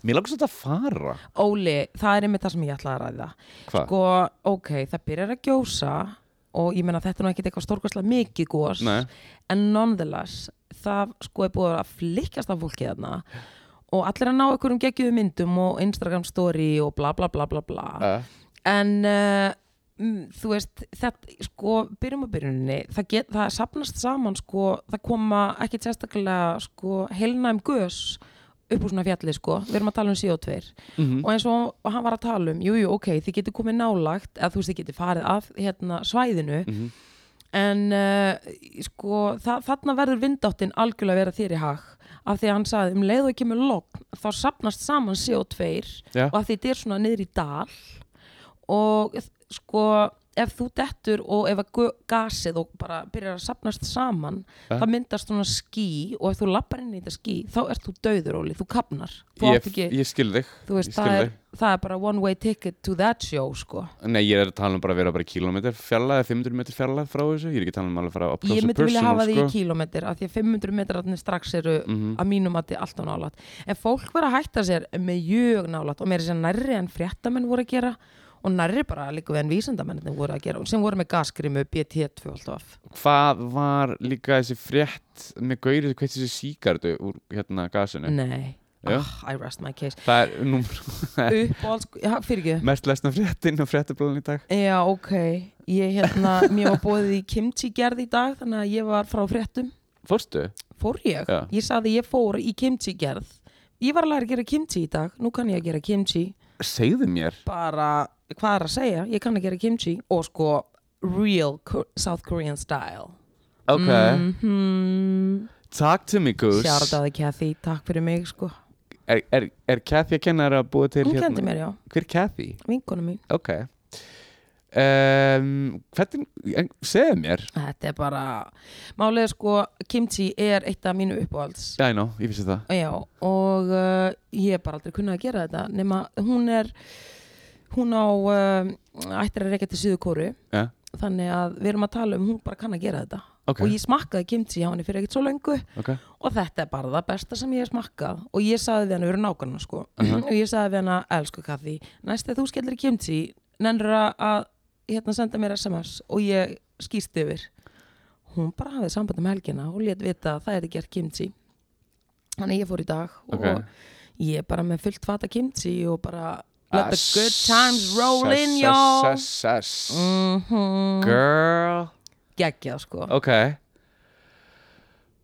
Speaker 2: mér langar svolítið að fara
Speaker 1: Óli, það er einmitt það sem ég ætlaði að ræða
Speaker 2: hvað?
Speaker 1: sko, ok, það byrjar að gjósa og ég meina þetta er nú ekkert eitthvað stórkvæslega mikið gós
Speaker 2: Nei.
Speaker 1: en nonetheless, það sko er búið að flikkast af fólki þarna og allir að ná einhverjum geggjum myndum og Instagram story og bla bla bla bla bla
Speaker 2: Uh,
Speaker 1: en uh, mm, þú veist, þetta, sko byrjum að byrjunni, það, get, það sapnast saman sko, það koma ekki sérstaklega sko heilnæm gös upp úr svona fjalli sko, við erum að tala um CO2
Speaker 2: mm
Speaker 1: og eins og og hann var að tala um jú, jú, ok, þið getur komið nálagt eða þú veist, þið getur farið að hérna, svæðinu
Speaker 2: Mhm.
Speaker 1: en uh, sko, þa þarna verður vindáttin algjörlega að vera þér í hag af því að hann sagði, um leið og ekki með logn þá sapnast saman CO2
Speaker 2: Já.
Speaker 1: og að þetta er svona niður í dal og sko ef þú dettur og ef að gu- gasið og bara byrjar að sapnast saman
Speaker 2: Ja.
Speaker 1: það myndast svona ský og ef þú lappar inn í þetta ský þá ert þú dauður, Óli, þú kapnar þú
Speaker 2: ég,
Speaker 1: átt ekki-
Speaker 2: ég skil þig
Speaker 1: þú veist,
Speaker 2: Ég skil
Speaker 1: það er, það er bara one way ticket to that show, sko
Speaker 2: Nei, ég er að tala um bara að vera bara kilómetr fjarlæð, 500 metr fjarlæð frá þessu, ég er ekki að tala um alveg að fara up
Speaker 1: ég
Speaker 2: close and
Speaker 1: myndi vilja
Speaker 2: personal,
Speaker 1: hafa því
Speaker 2: sko.
Speaker 1: í kílómetr af því að 500 metrarnir strax eru
Speaker 2: Mhm.
Speaker 1: að mínum að þið alltaf nálat en fólk verið að hætta sér með jög nálat og mér er sér nærri en fréttamenn voru að gera og nærri bara líka við en vísindamennin voru að gera sem voru með gaskrimu BT2 alltaf
Speaker 2: Hvað var líka þessi frétt með gaurið, hvað þessi síkardu úr hérna gasinu?
Speaker 1: nei,
Speaker 2: Já. Eh.
Speaker 1: ah, I rest my case
Speaker 2: Það er nú *laughs*
Speaker 1: uppáhalds, ja, fyrir ekki
Speaker 2: mest lesna fréttin á fréttablaðin í dag
Speaker 1: já, ok, ég hérna mér var bóðið í kimchi gerð í dag þannig að ég var frá fréttum
Speaker 2: Fórstu?
Speaker 1: fór ég?
Speaker 2: Já.
Speaker 1: Ég saði ég fór í kimchi gerð. Ég var að læra að gera kimchi í dag, nú kann ég að gera kimchi.
Speaker 2: Segðu mér
Speaker 1: Bara, hvað er að segja? Ég kann að gera kimchi og sko real Ko- South Korean style.
Speaker 2: Ok,
Speaker 1: Mm. -hmm.
Speaker 2: talk to me goose
Speaker 1: Sjárdaði Kathy, takk fyrir mig sko.
Speaker 2: Er, er, er Kathy að kenna þér að búa til hérna?
Speaker 1: Hún kendi mér, já,
Speaker 2: Hver er Kathy?
Speaker 1: vinkonu mín.
Speaker 2: Ok um, Hvernig, en- segðu mér
Speaker 1: Þetta er bara, málið er sko, kimchi er eitt af mínu uppáhalds.
Speaker 2: Já, ég ná, ég vissi það
Speaker 1: Já, og uh, ég hef bara aldrei kunnað að gera þetta nema hún er hún á uh, ættir að reyka til Suðukóru
Speaker 2: Já.
Speaker 1: þannig að við erum að tala um hún bara kann að gera þetta
Speaker 2: Ok,
Speaker 1: og ég smakkaði kimchi hjá henni fyrir ekkert svo löngu
Speaker 2: ok
Speaker 1: og þetta er bara það besta sem ég hef smakkað og ég saði við henni, við erum nákvæmna sko
Speaker 2: Mhm.
Speaker 1: og ég saði við henni, elsku Kathy næst þegar þú skellir í kimchi nennur að hérna, senda mér SMS og ég skýst yfir hún bara hafið samband um helgina og lét vita að það er gert kimchi þannig að ég fór í dag
Speaker 2: Ok.
Speaker 1: og ég er bara með fullt fata kimchi og bara Let the
Speaker 2: Ah,
Speaker 1: good times roll
Speaker 2: sess,
Speaker 1: in,
Speaker 2: sess,
Speaker 1: y'all.
Speaker 2: sess, sess.
Speaker 1: mm
Speaker 2: Girl
Speaker 1: geggjað sko
Speaker 2: Ok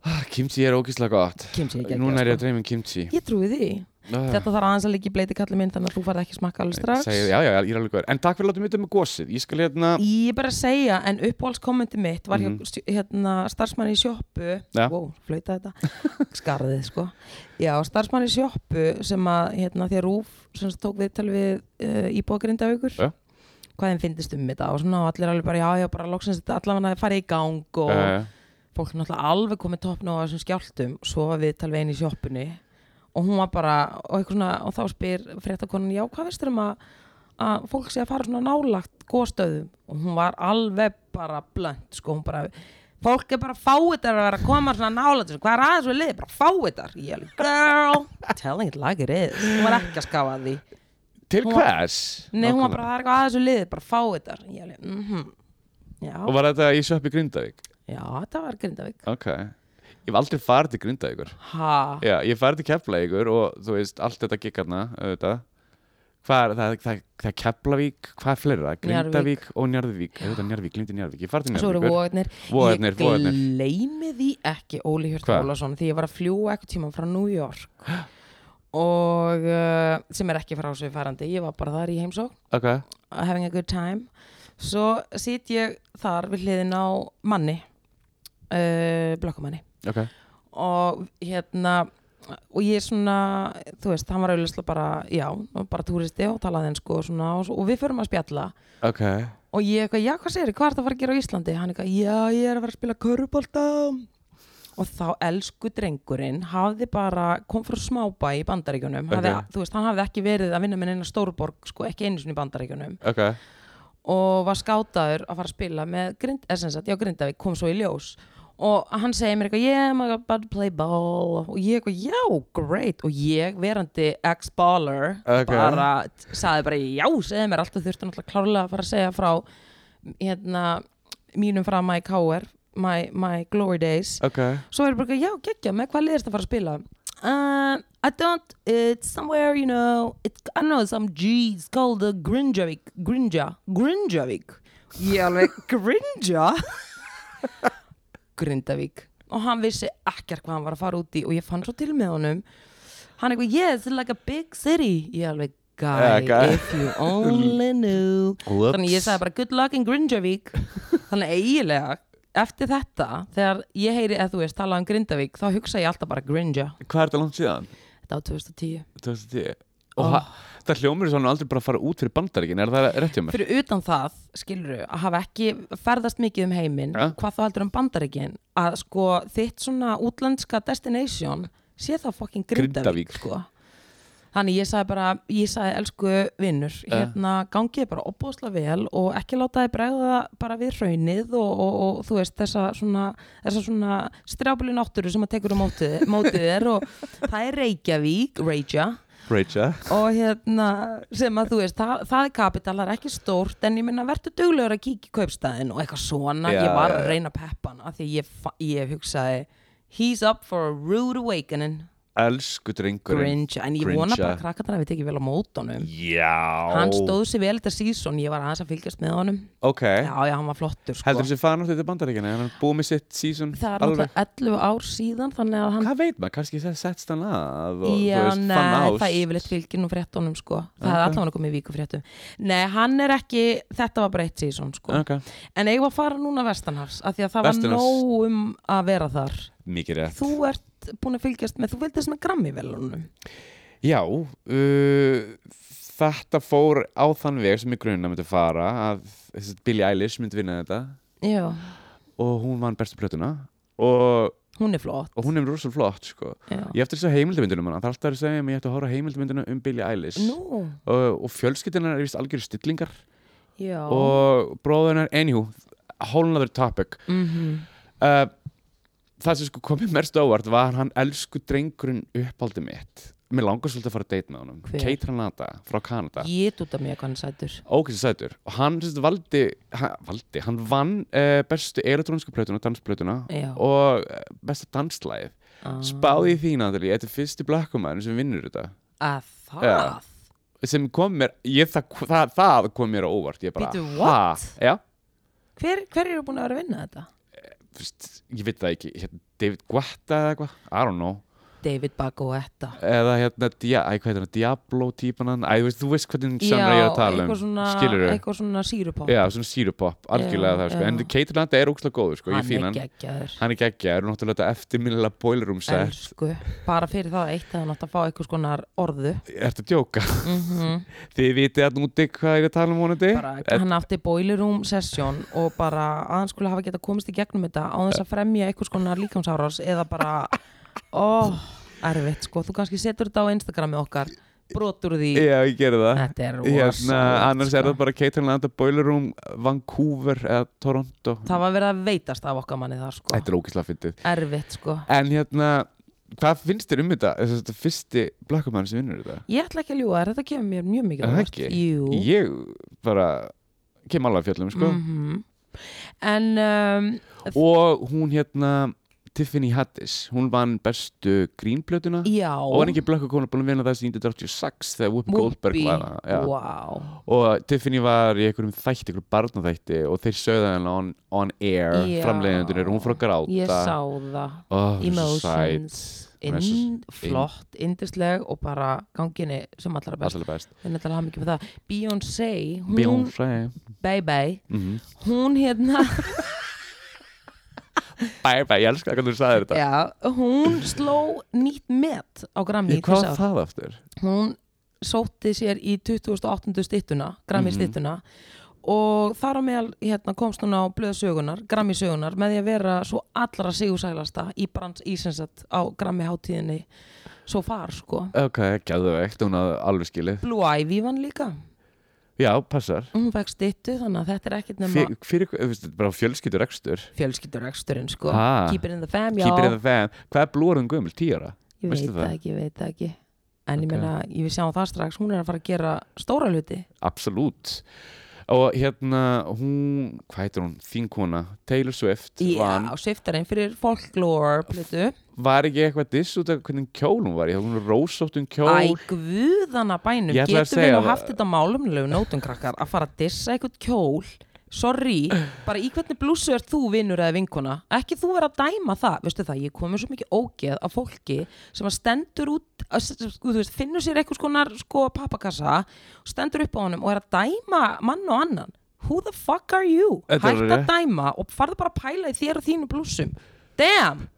Speaker 2: Ah, Kimchi er ógislega gott
Speaker 1: Kimchi er geggjað,
Speaker 2: Núna er ég
Speaker 1: sko.
Speaker 2: að dreyma um kimchi
Speaker 1: ég trúi því
Speaker 2: Ah,
Speaker 1: þetta þarf aðeins að ligga í bleiti kallið minn þannig að þú farið ekki að smakka alveg strax
Speaker 2: segi- Já, já, já, ég er alveg góður En takk fyrir að láta mig þetta með gósið Ég skal hérna
Speaker 1: ég er bara að segja en uppáhaldskommendi mitt var hjá
Speaker 2: Mhm.
Speaker 1: stj- hérna, starfsmanni í sjoppu
Speaker 2: Ja.
Speaker 1: wow, flauta þetta *laughs* skarðið sko já, starfsmanni í sjoppu sem að hérna, því að Rúf sem sagt tók viðtal við uh, íbúagrindavíkur
Speaker 2: Ja.
Speaker 1: hvað þeim finnist um þetta og svona og allir alveg bara já, já, bara loksins þetta allavega að fara í gang og
Speaker 2: Eh,
Speaker 1: fólk er náttúrulega alveg komið toppn á þessum skjáltum svo var við talvegin í sjoppunni og hún var bara og, eitthvað svona, og þá spyr fréttakonan já hvað veistur um að, að fólk sé að fara svona nálagt góðstöðum og hún var alveg bara blönd sko hún bara fólk er bara fáiðar að vera að koma svona nálagt þessu, hvað er aðeins við liðið bara fáiðar ég er alveg, girl telling it like it is hún var ekki að skafa að því
Speaker 2: Til
Speaker 1: Hún-
Speaker 2: hvers?
Speaker 1: nei hún var
Speaker 2: Nákvæmlega.
Speaker 1: bara það er eitthvað aðeins við liðið bara fáiðar ég er alveg, mhm
Speaker 2: Og
Speaker 1: já,
Speaker 2: var þetta í Söppi Grindavík?
Speaker 1: já þetta var Grindavík
Speaker 2: Ok Ég hef aldrei farið til Grindavíkur
Speaker 1: ha,
Speaker 2: Já, ég hef farið til Keflavíkur og þú veist, allt þetta gikkarna auðvitað Hvað er það, það, það er Keflavík, hvað er fleira? Grindavík og Njarðvík, auðvitað Njarðvík, glimti Njarðvík Ég farið til
Speaker 1: Svo eru
Speaker 2: Njarðvíkur
Speaker 1: vóðarnir
Speaker 2: Vogarnir,
Speaker 1: Ég
Speaker 2: vogarnir.
Speaker 1: gleymi því ekki Óli Hjörtur
Speaker 2: Hvað?
Speaker 1: Ólason Því ég var að fljúa ekkert tíma frá New York Og uh, sem er ekki frá svo færandi Ég var bara þar í heimsók
Speaker 2: Ok,
Speaker 1: Having a good time Svo sit ég þar við hliðin á manni uh, Blokkumanni
Speaker 2: ok
Speaker 1: og hérna og ég svona, þú veist, hann var auðvitað bara, já, bara túristi og talaði enn sko og svona og, svo- og við förum að spjalla
Speaker 2: Ok,
Speaker 1: og ég eitthvað, já hvað segir hvað ertu að fara að gera á Íslandi? Hann eitthvað, já ég er að fara að spila körubólta og þá elsku drengurinn hafði bara, kom frá smábæ í bandaríkjunum, hafði,
Speaker 2: Ok.
Speaker 1: þú veist, hann hafði ekki verið að vinna með neina stórborg, sko, ekki einu sinni í bandaríkjunum
Speaker 2: ok
Speaker 1: og var skátaður að fara að spila með grind, eh, sem sagt, já, Grindavík kom svo í ljós og hann segir mér eitthvað yeah, I'm about to play ball og ég eitthvað, já, great og ég, verandi ex-baller
Speaker 2: Ok.
Speaker 1: bara, t- sagði bara, já, segði mér alltaf þurfti náttúrulega klárlega að fara að segja frá hérna, mínum frá my KR my, my glory days
Speaker 2: Ok,
Speaker 1: svo er ég bara, eitthvað, já, geggja, með hvað liðist að fara að spila Uh, I don't, it's somewhere, you know, it, I know some G, it's called the Grinjavík, Grinja, Grinjavík. Ég alveg, *laughs* Grinja? Grindavík. Og hann vissi ekkert hvað hann var að fara út í og ég fann svo til með honum. Hann eitthvað, yes, it's like a big city. Ég alveg, guy,
Speaker 2: Yeah, guy."
Speaker 1: if you only knew.
Speaker 2: Whoops.
Speaker 1: Þannig ég sagði bara, good luck in Grinjavík. Þannig eiginlega, eftir þetta, þegar ég heyri, eða þú veist, talað um Grindavík, þá hugsa ég alltaf bara Grinja.
Speaker 2: hvað er þetta langt síðan?
Speaker 1: Þetta á 2010.
Speaker 2: 2010
Speaker 1: Ah.
Speaker 2: Og oh. það hljómur svona aldrei bara að fara út fyrir bandaríkin, er það rétt hjá mér?
Speaker 1: Fyrir utan það, skilur að hafa ekki ferðast mikið um heiminn,
Speaker 2: Ja.
Speaker 1: hvað þá heldur um bandaríkin, að sko þitt svona útlenska destination sé þá fucking Grindavík,
Speaker 2: Grindavík.
Speaker 1: sko. Þannig ég sagði bara, ég sagði elsku vinnur, hérna gangið bara opbóðslega vel og ekki láta þið bregða bara við hraunið og, og, og þú veist þessa svona, þessa svona strjábili náttúru sem að tekur á mótið, mótið er og það er Reykjavík, Reykja
Speaker 2: Rachel
Speaker 1: og hérna sem að þú veist, það, það er kapital, það er ekki stórt en ég minna verður duglegur að kíkja í kaupstæðin og eitthvað svona,
Speaker 2: Já,
Speaker 1: ég var
Speaker 2: já,
Speaker 1: að
Speaker 2: já.
Speaker 1: reyna að peppa hann af því ég, fa- ég hugsaði he's up for a rude awakening
Speaker 2: Elsku drengurinn
Speaker 1: Grinch, en ég vona
Speaker 2: Grincha.
Speaker 1: bara að krakkarnar hafi tekið vel á mótunum
Speaker 2: Já
Speaker 1: hann stóð sér vel þetta season, ég var aðeins að fylgjast með honum
Speaker 2: Ok,
Speaker 1: já, já, hann var flottur sko.
Speaker 2: heldur þessi farin átti til bandaríkina, hann er búið með sitt season
Speaker 1: það er
Speaker 2: alveg
Speaker 1: náttúrulega 11 ár síðan þannig að hann
Speaker 2: Hvað veit maður, kannski það settst hann að og
Speaker 1: Já,
Speaker 2: þú veist, fann
Speaker 1: nei,
Speaker 2: ást
Speaker 1: það yfirleitt fylgir nú fréttunum sko Það
Speaker 2: Ok.
Speaker 1: er allavega komið vikufréttum Nei, hann er ekki, þetta var bara eitt season sko
Speaker 2: okay.
Speaker 1: En eigum við að fara núna vestanhafs af því að það var
Speaker 2: Vestanhafs.
Speaker 1: nóg um að vera þar
Speaker 2: Mikið rétt
Speaker 1: Þú ert búin að fylgjast með, þú vildist með grammi velunum
Speaker 2: Já, uh, þetta fór á þann veg sem ég grunna myndi fara að þessi Billie Eilish myndi vinna þetta
Speaker 1: Já,
Speaker 2: og hún vann bestu plötuna og,
Speaker 1: hún er flott
Speaker 2: og hún er rosa flott sko.
Speaker 1: Já.
Speaker 2: Ég eftir þessu heimildamyndunum hann, það er alltaf að segja mér ég ætti að horfa á heimildamynduna um Billie Eilish
Speaker 1: Nú,
Speaker 2: og, og fjölskyldunar er vist algjör stillingar
Speaker 1: já
Speaker 2: og bróðunar, anywho whole nother topic
Speaker 1: Mhm.
Speaker 2: uh, það sem sko komið mest ávart var hann elsku drengurinn uppáldi mitt mér langar svolítið að fara að date með honum
Speaker 1: Hver?
Speaker 2: Kate Renata frá Kanada
Speaker 1: Ég dúta mér hvað hann sætur
Speaker 2: ókvæmst sætur og hann sem sagt, valdi, hann, valdi hann vann uh, bestu elektrónsku plötuna, dansplötuna
Speaker 1: Já.
Speaker 2: og uh, besta danslæð
Speaker 1: Ah.
Speaker 2: spáði í þín aðri, þetta er fyrsti blökkumæðin sem vinnur þetta
Speaker 1: Að það
Speaker 2: Já. sem kom mér ég, það, það, það kom mér á óvart ég bara,
Speaker 1: Bíddu,
Speaker 2: ha?
Speaker 1: what?
Speaker 2: já,
Speaker 1: hver, hver eru búin að vera að vinna þetta?
Speaker 2: fyrst, ég veit það ekki hérna, David Guetta eða eitthvað, I don't know
Speaker 1: David Bagoetta
Speaker 2: eða hérna, dia, æ, hvað heitir hann, Diablo típan hann, æ, þú veist, þú veist hvernig genre ég er að tala um,
Speaker 1: eitthvað svona,
Speaker 2: skilur þau
Speaker 1: eitthvað svona sírupop
Speaker 2: já, svona sírupop, algjörlega
Speaker 1: Já,
Speaker 2: það sko.
Speaker 1: já.
Speaker 2: en Keitir Landa er ógslag góður, sko, ég
Speaker 1: hann
Speaker 2: fín
Speaker 1: er
Speaker 2: hann
Speaker 1: geggjaður
Speaker 2: hann er geggja, er náttúrulega þetta eftirminnilega boiler room set,
Speaker 1: elsku, bara fyrir það eitt að hann átt að fá eitthvað skonar orðu
Speaker 2: ertu að djóka *laughs*
Speaker 1: mm
Speaker 2: þið vitið að núti hvað ég er að tala um vonandi
Speaker 1: bara, hann átti boiler room session og bara að hann skulle hafa getað komist í gegnum þetta á þess að fremja eitthvað skonar líkamsárás eða
Speaker 2: *laughs*
Speaker 1: bara, ó erfitt sko, þú kannski setur þetta á Instagrami okkar, brotur því
Speaker 2: já, ég gerði það
Speaker 1: þetta er
Speaker 2: hérna,
Speaker 1: rosalegt,
Speaker 2: annars er
Speaker 1: sko.
Speaker 2: það bara Keitir Landa boiler room, Vancouver eða Toronto,
Speaker 1: það var verið að veitast af okkar manni það sko,
Speaker 2: þetta er ógslag fyndið
Speaker 1: erfitt sko
Speaker 2: en hérna, hvað finnst þér um þetta þess að þetta fyrsti blakkumann sem vinnur þetta
Speaker 1: ég ætla ekki að ljúga, þér, þetta kemur mér mjög mikið á
Speaker 2: Er það
Speaker 1: óvart.
Speaker 2: ekki?
Speaker 1: Jú.
Speaker 2: ég bara kem alveg að fjöllum sko.
Speaker 1: Mhm. en um,
Speaker 2: og hún hérna Tiffany Haddish, hún vann bestu grínplötuna
Speaker 1: já
Speaker 2: og var ekki blökk að kona búin að vinna það sem 1986 þegar Whoopi Goldberg var það já.
Speaker 1: wow.
Speaker 2: og Tiffany var í einhverjum þætti, einhverjum barnaþætti og þeir sögðu henni on, on air
Speaker 1: Já.
Speaker 2: framleiðendunir og hún fór að gráta
Speaker 1: ég sá það
Speaker 2: oh,
Speaker 1: emotions
Speaker 2: Hún er svo
Speaker 1: inn, flott, indisleg og bara ganginni sem allra best
Speaker 2: alltaf best
Speaker 1: við nættilega hafa mikið með það Beyoncé, hún,
Speaker 2: Beyoncé
Speaker 1: baby,
Speaker 2: Mhm.
Speaker 1: hún hérna
Speaker 2: bye bye, ég elska hvernig þú sagði *laughs* þetta
Speaker 1: já, hún sló nýtt met á Grammy
Speaker 2: Ég, hvað
Speaker 1: þessi ár.
Speaker 2: var það aftur?
Speaker 1: hún sótti sér í 2008. stittuna, Grammy
Speaker 2: Mhm.
Speaker 1: stittuna og þar á meðal hérna, komst hún á blöðsögunar, Grammy sögunar með því að vera svo allra sigursælasta í brans ísensat á Grammy hátíðinni svo far sko
Speaker 2: Ok, gæðvegt, hún hafði alveg skilið
Speaker 1: Blue Ivy vann líka,
Speaker 2: Já, passar
Speaker 1: hún fekk stittu þannig að þetta er ekkert nema
Speaker 2: Fyr, Fyrir, þú veist, þetta er bara fjölskyldur ekstur
Speaker 1: fjölskyldureksturinn sko
Speaker 2: Ha.
Speaker 1: keep it in the fam, já,
Speaker 2: Keep it in the fam Hvað er blúarðum gömul, tíu ára?
Speaker 1: ég veit
Speaker 2: veistu
Speaker 1: það
Speaker 2: það?
Speaker 1: ekki, ég veit það ekki en ég
Speaker 2: Ok.
Speaker 1: meina, ég vil sjá það strax hún er að fara að gera stóra hluti
Speaker 2: Absolutt Og hérna, hún, hvað heitir hún? Þín kona, Taylor Swift vann.
Speaker 1: já, sviftarinn fyrir folklore plötu
Speaker 2: Var ekki eitthvað diss út af hvernig kjól hún var í? Hún er rósótt um kjól
Speaker 1: Æ, guðana bænum,
Speaker 2: Ég
Speaker 1: getum
Speaker 2: ætlaði að
Speaker 1: við
Speaker 2: segja
Speaker 1: nú
Speaker 2: það.
Speaker 1: haft þetta málumlegu nótum krakkar að fara að dissa eitthvað kjól Sorry, bara í hvernig blússu er þú vinnur eða vinkona? Ekki þú vera að dæma það, veistu það, ég komið svo mikið ógeð af fólki sem að stendur út, að, s- s- þú veist, finnur sér eitthvað skonar sko pappakassa, stendur upp á honum og er að dæma mann og annan. Who the fuck are you?
Speaker 2: Þetta er
Speaker 1: Hætt að
Speaker 2: alveg rétt.
Speaker 1: dæma og farðu bara að pæla í þér og þínu blússum. Damn,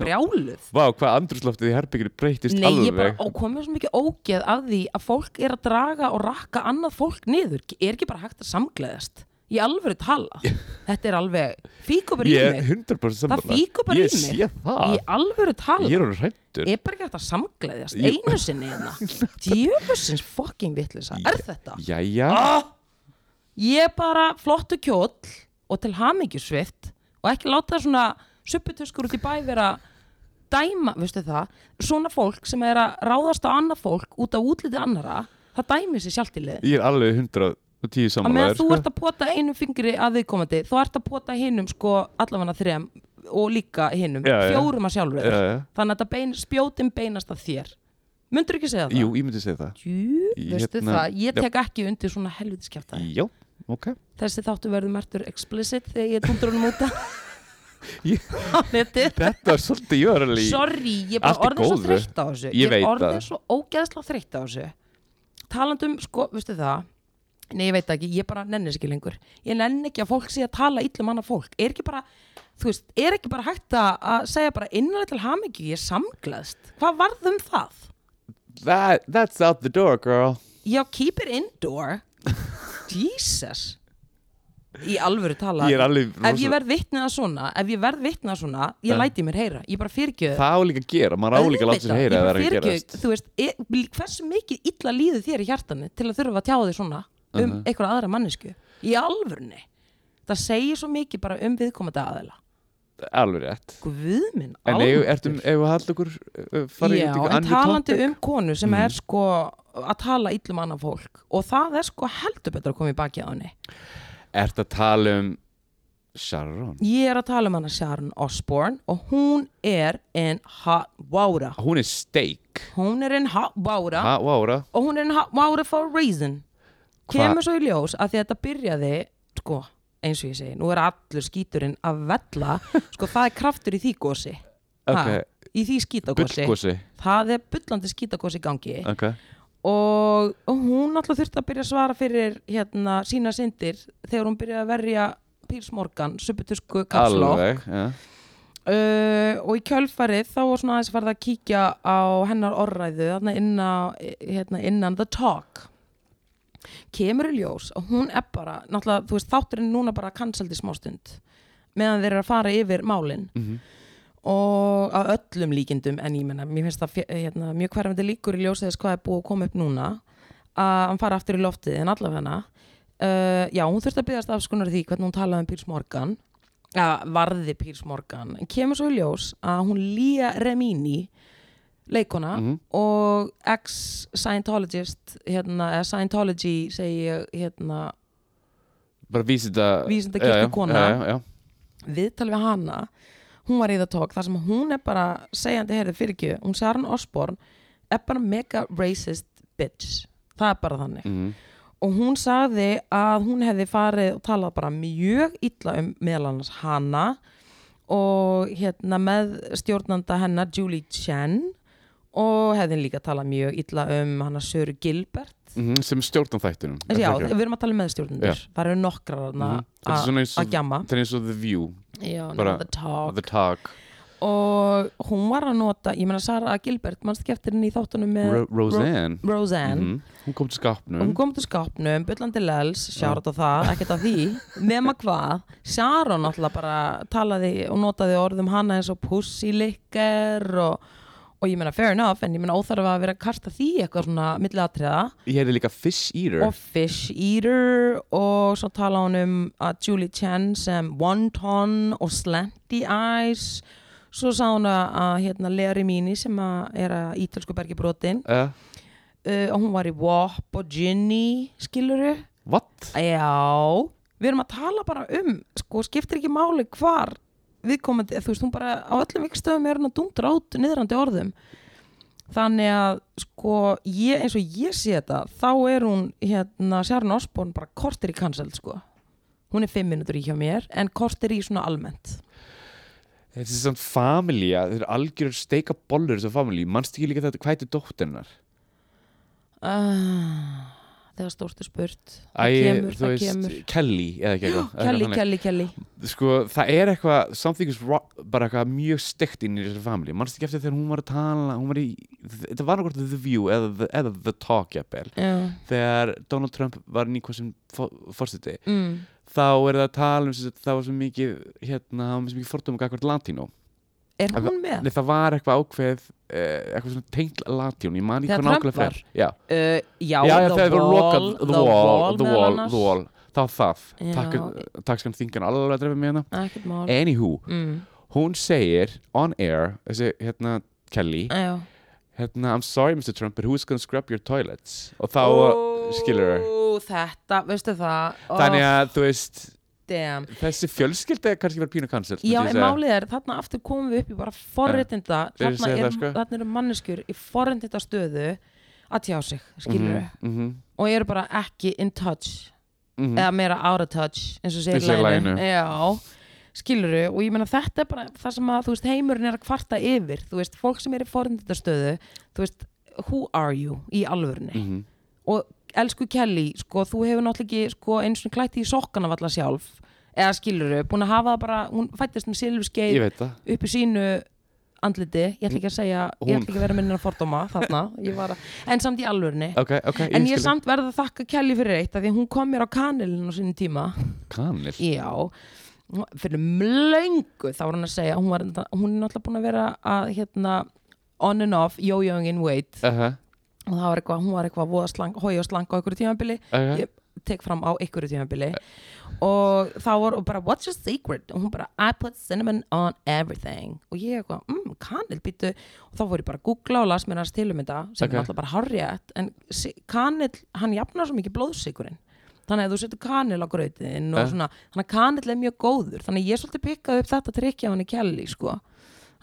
Speaker 1: brjáluð.
Speaker 2: Vá, hvað andrúsloftið í herbygginu breytist
Speaker 1: Nei,
Speaker 2: alveg
Speaker 1: ég bara og komið svo mikið ógeð af því að fólk er að draga og rakka annað fólk niður er ekki bara hægt að samgleðast í alvöru tala þetta er alveg fíkupur í
Speaker 2: Ég er
Speaker 1: mig
Speaker 2: 100%
Speaker 1: það
Speaker 2: sammála
Speaker 1: fíkur bara í mig
Speaker 2: Ég sé það
Speaker 1: í alvöru tala
Speaker 2: Ég er hún hrættur
Speaker 1: er bara ekki hægt að samgleðast
Speaker 2: Ég-
Speaker 1: einu sinni
Speaker 2: *laughs*
Speaker 1: hérna djöfusins fucking vitlisa er þetta?
Speaker 2: Jæja
Speaker 1: Ah! ég bara flottu kjóll og til hamingjusvift og ekki láta svona supputuskur út í bæ vera dæma, veistu það svona fólk sem er að ráðast á annað fólk út af útliti annara það dæmi sér sjálft í lið
Speaker 2: Ég er alveg 110
Speaker 1: að
Speaker 2: sammála
Speaker 1: meðan
Speaker 2: þér,
Speaker 1: þú
Speaker 2: sko.
Speaker 1: ert að pota einum fingri að viðkomandi þú ert að pota hinnum sko allavega þrem og líka hinnum,
Speaker 2: Já, já.
Speaker 1: fjórum að sjálfur
Speaker 2: Já, já.
Speaker 1: þannig að þetta bein, spjótin beinast að þér myndur ekki segja það?
Speaker 2: Eh, Jú, ég myndi segja það
Speaker 1: Jú, veistu
Speaker 2: Hérna,
Speaker 1: það, ég
Speaker 2: já.
Speaker 1: tek ekki undir svona helvitiskeftaði
Speaker 2: Já, ok
Speaker 1: þessi þáttu verður mertur explicit þegar ég tundur honum út af-
Speaker 2: *laughs* Ég-
Speaker 1: á netið
Speaker 2: Þetta var svolítið jörli
Speaker 1: sorry, ég er
Speaker 2: Allt
Speaker 1: bara
Speaker 2: í
Speaker 1: orðið svo
Speaker 2: góðu.
Speaker 1: þreytt á þessu
Speaker 2: Ég veit
Speaker 1: er orðið
Speaker 2: það.
Speaker 1: svo ógeðslega þreytt á þessu talandum, sko, veistu það nei, ég veit það ekki, ég bara nenni þessu ekki lengur ég nenni ekki að fólk sé að tala illum annað fólk er ekki bara, þú veist, er ekki bara hægt að- að segja bara innanlega til hamingju ég er samglaðst, hvað varð um það?
Speaker 2: That, That's out the door, girl
Speaker 1: já, keep it indoor *laughs* Jesus í alvöru tala
Speaker 2: Ég er alveg
Speaker 1: ef ég
Speaker 2: rosa-
Speaker 1: verð vitnað svona ef ég verð vitnað svona, ég
Speaker 2: Ja.
Speaker 1: læti mér heyra ég bara fyrirgjöð
Speaker 2: Það á líka að gera, maður á líka að láta sér heyra ef Það er að gerast
Speaker 1: þú veist, e, hversu mikið illa líður þér í hjartanu til að þurfa að tjá þig svona um
Speaker 2: Mhm.
Speaker 1: einhverja aðra mannesku í alvörni það segir svo mikið bara um viðkomandi aðila
Speaker 2: Alveg rétt
Speaker 1: guð minn,
Speaker 2: En ef
Speaker 1: almáttugur.
Speaker 2: ertum, ef við haldum okkur uh, farið
Speaker 1: Já,
Speaker 2: ykkur
Speaker 1: en
Speaker 2: annir
Speaker 1: talandi
Speaker 2: topic? Mm.
Speaker 1: um konu sem er sko að tala illum annað fólk og það er sko heldur betur að koma í baki á henni
Speaker 2: Ertu að tala um Sharon
Speaker 1: Ég er að tala um hana Sharon Osbourne og hún er in hot water.
Speaker 2: Hún er steak
Speaker 1: Hún er in hot water
Speaker 2: Ha, vára
Speaker 1: og hún er in hot water for a reason.
Speaker 2: Hva-
Speaker 1: Kemur svo í ljós að því að þetta byrjaði, sko, eins og ég segi, nú er allur skíturinn að
Speaker 2: *laughs*
Speaker 1: vella, sko, það er kraftur í því gósi.
Speaker 2: Ok.
Speaker 1: Í því skítagosi.
Speaker 2: Bullgósi
Speaker 1: Það er bullandi skítagosi í gangi
Speaker 2: Ok
Speaker 1: og, og hún alltaf þurfti að byrja að svara fyrir hérna sína syndir þegar hún byrjaði að verja Pírs Morgan, subutusku kafslokk
Speaker 2: Alveg ja.
Speaker 1: uh, og í kjölfarið þá var svona aðeins farið að kíkja á hennar orðræðu þarna inn á- hérna, innan the talk kemur í ljós og hún er bara náttúrulega, þú veist, þátturinn núna bara canceldi smástund meðan þeir eru að fara yfir málin
Speaker 2: Mhm.
Speaker 1: og að öllum líkindum en ég menna, mér finnst það fje- hérna, mjög hverfandi líkur í ljós þess hvað er búið að koma upp núna að hann fara aftur í loftið en allavega uh, já, hún þurfti að byggast afskunar því hvernig hún talaði um Pírs Morgan að varði Pírs Morgan en kemur svo í ljós að hún Lía Remini leikona
Speaker 2: Mhm.
Speaker 1: og ex-Scientologist hérna, eða Scientology segi ég hérna,
Speaker 2: Bara vísinda
Speaker 1: Vísindakirkju
Speaker 2: Já, já,
Speaker 1: kona.
Speaker 2: Já, já, já
Speaker 1: viðtal við hana hún var í það tók þar sem hún er bara segjandi heyrðu fyrir ekki, hún Sharon Osborn er bara mega racist bitch, það er bara þannig
Speaker 2: mm.
Speaker 1: og hún sagði að hún hefði farið og talað bara mjög illa um meðal annars hana og hérna með stjórnanda hennar Julie Chen og hefði líka talað mjög illa um hana Söru Gilbert
Speaker 2: Mm, Sem stjórnum þættunum
Speaker 1: Þessi, já, við erum að tala um meðstjórnendur það eru nokkrar þarna
Speaker 2: Mhm. Þetta er
Speaker 1: að-
Speaker 2: svona eins og-
Speaker 1: að gjamma
Speaker 2: Það er eins og The View
Speaker 1: já,
Speaker 2: bara-
Speaker 1: bara, the talk.
Speaker 2: The Talk
Speaker 1: og hún var að nota ég meina Sara Gilbert, mannst ekki eftir henni í þáttunum með
Speaker 2: Ro Roseanne
Speaker 1: Roseanne
Speaker 2: Mhm. Hún kom til
Speaker 1: og
Speaker 2: skapnum
Speaker 1: hún kom til skápnum, byllandi lels sjárat á það, ekkert á því nema hvað, Sharon alltaf bara talaði og notaði orðum hana eins og pussilikker og, og ég meina fair enough en ég meina óþarf að vera að kasta því eitthvað svona milli atriða
Speaker 2: Ég hefði líka Fish Eater
Speaker 1: og fish eater og svo tala hún um að Julie Chen sem wonton og slanty eyes svo sá hún að, að hérna Lea Rimini sem að er að ítölsku bergi brotin
Speaker 2: uh,
Speaker 1: uh, og hún var í WAP og Ginny skiluru
Speaker 2: What?
Speaker 1: Já, við erum að tala bara um sko, skiptir ekki máli hvar viðkomandi, þú veist, hún bara á öllum ykkur stöðum er hann að dundra át niðrandi orðum þannig að sko, ég, eins og ég sé þetta þá er hún, hérna, Sharon Osborn bara kortir í cancel, sko hún er fimm minútur í hjá mér, en kortir í svona almennt
Speaker 2: Þetta er samt familja, þetta er algjörur steika bollur þessu familji, mannst ekki líka þetta hvað heitir dóttirnar?
Speaker 1: uh, þegar stórt er spurt
Speaker 2: Æ,
Speaker 1: það kemur,
Speaker 2: þú
Speaker 1: það
Speaker 2: veist,
Speaker 1: kemur
Speaker 2: Kelly eða ekki eitthvað eitthvað
Speaker 1: Kelly,
Speaker 2: þannig.
Speaker 1: Kelly, Kelly
Speaker 2: Sko, það er eitthvað, something is wrong, bara eitthvað mjög steikt inn í þessu familji mannst ekki eftir þegar hún var að tala hún var í, þetta var nákvæmt The View eða The, eða the Talk, jafnvel
Speaker 1: Já,
Speaker 2: þegar Donald Trump var nýkvæmstum fórstuti,
Speaker 1: mm,
Speaker 2: þá er það að tala um sem sagt, það var svo mikið, hérna það var svo mikið fordum og gagvart latínó
Speaker 1: er hún með?
Speaker 2: Nei, það var eitthvað ákveð eh, eitthvað svona tengt latjón, ég man ekki
Speaker 1: Þegar Trump
Speaker 2: hvað nákvæmlega
Speaker 1: var?
Speaker 2: fer Já,
Speaker 1: Uh, já,
Speaker 2: já, já
Speaker 1: The
Speaker 2: þegar það var lokað The Wall, The
Speaker 1: meðal
Speaker 2: Wall,
Speaker 1: annars.
Speaker 2: The Wall þá það,
Speaker 1: Já.
Speaker 2: Takk- takkskan þingan alveg að drefa með hana
Speaker 1: ekkert mál
Speaker 2: Anywho,
Speaker 1: mm.
Speaker 2: hún segir on air, þessi hérna Kelly,
Speaker 1: já.
Speaker 2: hérna I'm sorry Mr. Trump, but who's gonna scrub your toilets og þá uh,
Speaker 1: Ó,
Speaker 2: skilur þau
Speaker 1: þetta, veistu það oh,
Speaker 2: Þannig að þú veist,
Speaker 1: damn.
Speaker 2: þessi fjölskylda er kannski verið pínu cancel
Speaker 1: já, en málið er, þarna aftur komum við upp í bara forréttinda
Speaker 2: Ég vil
Speaker 1: þarna,
Speaker 2: segja
Speaker 1: er,
Speaker 2: það, sko.
Speaker 1: þarna eru manneskjur í forréttinda stöðu að tjá sig, skilur
Speaker 2: mm -hmm,
Speaker 1: og eru bara ekki in touch
Speaker 2: mm
Speaker 1: eða meira out of touch eins og segir
Speaker 2: Eins og í
Speaker 1: laginu.
Speaker 2: laginu.
Speaker 1: já, skilur og ég meina þetta er bara það sem að þú veist, heimurinn er að kvarta yfir þú veist, fólk sem er í forréttindastöðu þú veist, who are you í alvörni
Speaker 2: -hmm.
Speaker 1: og elsku Kelly, sko, þú hefur náttúrulega ekki sko, eins og klætt í sokkana valla sjálf eða skiluru, búin að hafa það bara hún fættist með
Speaker 2: Ég
Speaker 1: silfskeið
Speaker 2: veit það
Speaker 1: upp í sínu andliti ég ætla ekki að segja, ég
Speaker 2: Hún-
Speaker 1: ætla ekki að vera minna fordóma þarna, ég var að, en samt í alvörni
Speaker 2: Ok, ok,
Speaker 1: en ég
Speaker 2: skil.
Speaker 1: er samt verð að þakka Kelly fyrir eitt af því að hún kom mér á kanilin á sinni tíma
Speaker 2: Kanil
Speaker 1: já, fyrir mlöngu þá var hún að segja, hún, var, hún er náttúrulega búin að vera að hérna on and off, yo-yoing in weight
Speaker 2: uh -huh,
Speaker 1: og það var eitthvað, hún var eitthvað voða slang, hói og slang á einhverju tímabili
Speaker 2: okay.
Speaker 1: Ég- tek fram á einhverju tímabili og þá var og bara what's your secret og hún bara I put cinnamon on everything og ég eitthvað, mm, kanil býtu og þá fór ég bara að googla og las mér hans til um þetta sem
Speaker 2: Ok.
Speaker 1: er alltaf bara harriðat en si- kanil, hann jafnar svo mikið blóðsikurinn þannig að þú setur kanil á grautin og
Speaker 2: Eh.
Speaker 1: svona, þannig að kanil er mjög góður þannig að ég svolítið pikkaði upp þetta trikkja hann í kelli sko.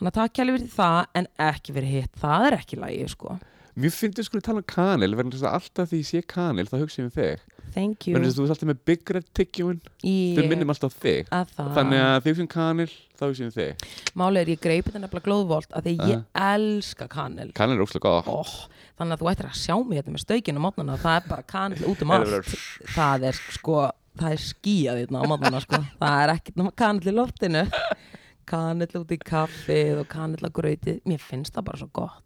Speaker 1: þannig að það kelli verið það en ekki verið hitt, það er ekki lægi sko.
Speaker 2: Mér finnst þú skulle tala um kanil verðan þess að alltaf því ég sé kanil þá hugsa ég um þig
Speaker 1: thank you
Speaker 2: verðan þess að þú ert alltaf með Big Red Tiggjóin
Speaker 1: Ég- Ah.
Speaker 2: þau minnum alltaf á þig
Speaker 1: að það,
Speaker 2: þannig að þau sem kanil þá hugsa ég um þig
Speaker 1: málið er ég greipi þetta nefnilega glóðvolt að því ég
Speaker 2: Ah.
Speaker 1: elska kanil
Speaker 2: kanil er óslega gott
Speaker 1: oh, þannig að þú ættir að sjá mig hérna með stökin á mótnana það er bara kanil út um
Speaker 2: Það er
Speaker 1: allt það er sko, það er skíað hérna á mótnana sko, það er ekkert nema kanil í loftinu kanil út í kaffið og kanil á grauti mér finnst það bara svo gott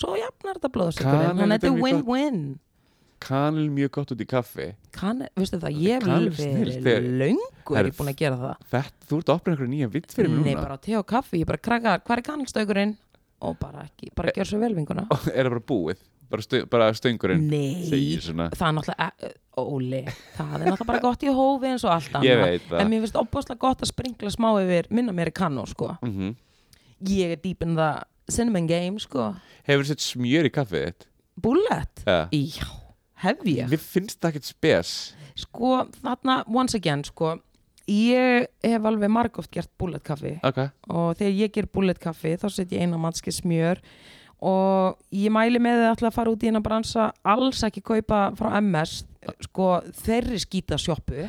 Speaker 1: svo jafnar þetta blóðsökurinn
Speaker 2: Kanil
Speaker 1: þannig
Speaker 2: er
Speaker 1: að þetta er
Speaker 2: mjög gott.
Speaker 1: win-win
Speaker 2: kanil er mjög gott út í kaffi
Speaker 1: kanil, veistu það, ég vil
Speaker 2: Kanil er snillt,
Speaker 1: verið
Speaker 2: þegar-
Speaker 1: löngu er
Speaker 2: Herðu,
Speaker 1: ég búin að gera það
Speaker 2: Þetta, þú ert að opna einhverja nýja vitt fyrir mér
Speaker 1: nei,
Speaker 2: núna *laughs*
Speaker 1: bara á te og kaffi, ég bara krakkar, hvað er kanilstökurinn og bara ekki, bara gjör svo vel vinguna
Speaker 2: Er það bara búið? Bara, stu, bara stöngurinn
Speaker 1: nei,
Speaker 2: segir svona
Speaker 1: það er náttúrulega eh, Óli, það er náttúrulega bara gott í hófi eins og allt
Speaker 2: Ég
Speaker 1: annað
Speaker 2: veit það
Speaker 1: en mér finnst opbáslega gott að springla smá yfir minna mér í kannó sko
Speaker 2: mm
Speaker 1: ég er deep in the cinnamon game sko
Speaker 2: Hefur sett smjör í kaffið þitt?
Speaker 1: bullet,
Speaker 2: Ja.
Speaker 1: já, hef ég
Speaker 2: Mér finnst það ekkert spes
Speaker 1: sko þarna once again sko ég hef alveg margóft gert bullet kaffi
Speaker 2: Ok
Speaker 1: og þegar ég ger bullet kaffi þá set ég eina mannski smjör og ég mæli með þið alltaf að fara út í eina bransa alls ekki kaupa frá MS sko þeirri skýta sjoppu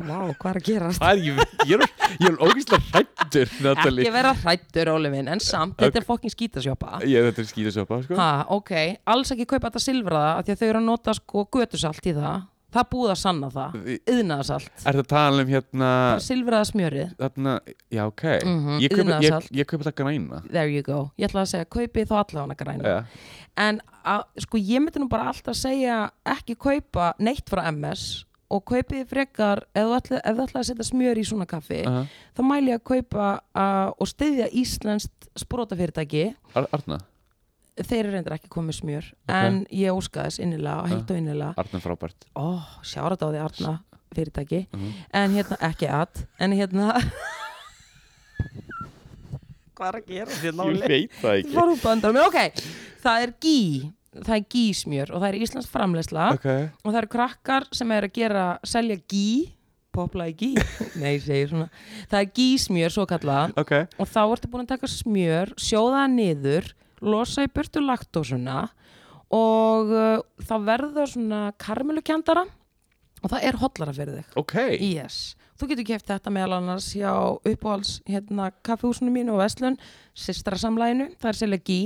Speaker 1: Vá, hvað er að gerast?
Speaker 2: Það er, ég, ég er, ég er ógeðslega hrættur
Speaker 1: Ekki
Speaker 2: Natalie
Speaker 1: vera hrættur, Óli minn, en samt þetta er fokkin skýta sjoppa
Speaker 2: Ég þetta er skýðasoppa sko
Speaker 1: Ha, ok, alls ekki kaupa þetta silfraða af því að þau eru að nota sko götusalt í það það er búið að sanna það, yðnaðasalt
Speaker 2: Er það að tala um hérna
Speaker 1: silfraða smjörið
Speaker 2: Þarna, já ok
Speaker 1: Mhm,
Speaker 2: Ég kaupi ég,
Speaker 1: iðnaðarsalt.
Speaker 2: ég kaupi það græna
Speaker 1: There you go, ég ætla að segja kaupið þá allavega græna
Speaker 2: ja.
Speaker 1: en að, sko ég myndi nú bara alltaf segja ekki kaupa neitt frá MS og kaupið frekar ef þú ætla, ef þú ætla að setja smjör í svona kaffi
Speaker 2: uh
Speaker 1: þá mæli ég að kaupa uh, og styðja íslenskt sprótafyrirtæki
Speaker 2: Ar Arna,
Speaker 1: þeir eru reyndar ekki komið smjör
Speaker 2: Ok.
Speaker 1: en ég óska þess innilega og heilt og innilega
Speaker 2: Arna er frábært
Speaker 1: ó, sjára þetta á því Arna fyrirtæki en hérna, ekki að en hérna hvað er að gera þér náli
Speaker 2: veit það
Speaker 1: Ég fór út á undan mér, ok það er gí, það er gísmjör og það er íslensk framleysla
Speaker 2: Ok,
Speaker 1: og það eru krakkar sem eru að gera selja gí, poplaði gí *laughs* nei, ég segi svona, það er gísmjör svo kallað
Speaker 2: ok
Speaker 1: og þá ertu búin að taka smjör, sjóða það niður losa í burtu laktósuna og uh, þá verður svona karmelukjandara og það er hotlara fyrir þig
Speaker 2: Ok,
Speaker 1: Yes. Þú getur keft þetta meðal annars hjá uppáhalds hérna, kaffehúsinu mínu og Veslun, sistrasamlæginu, það er sérlega gí,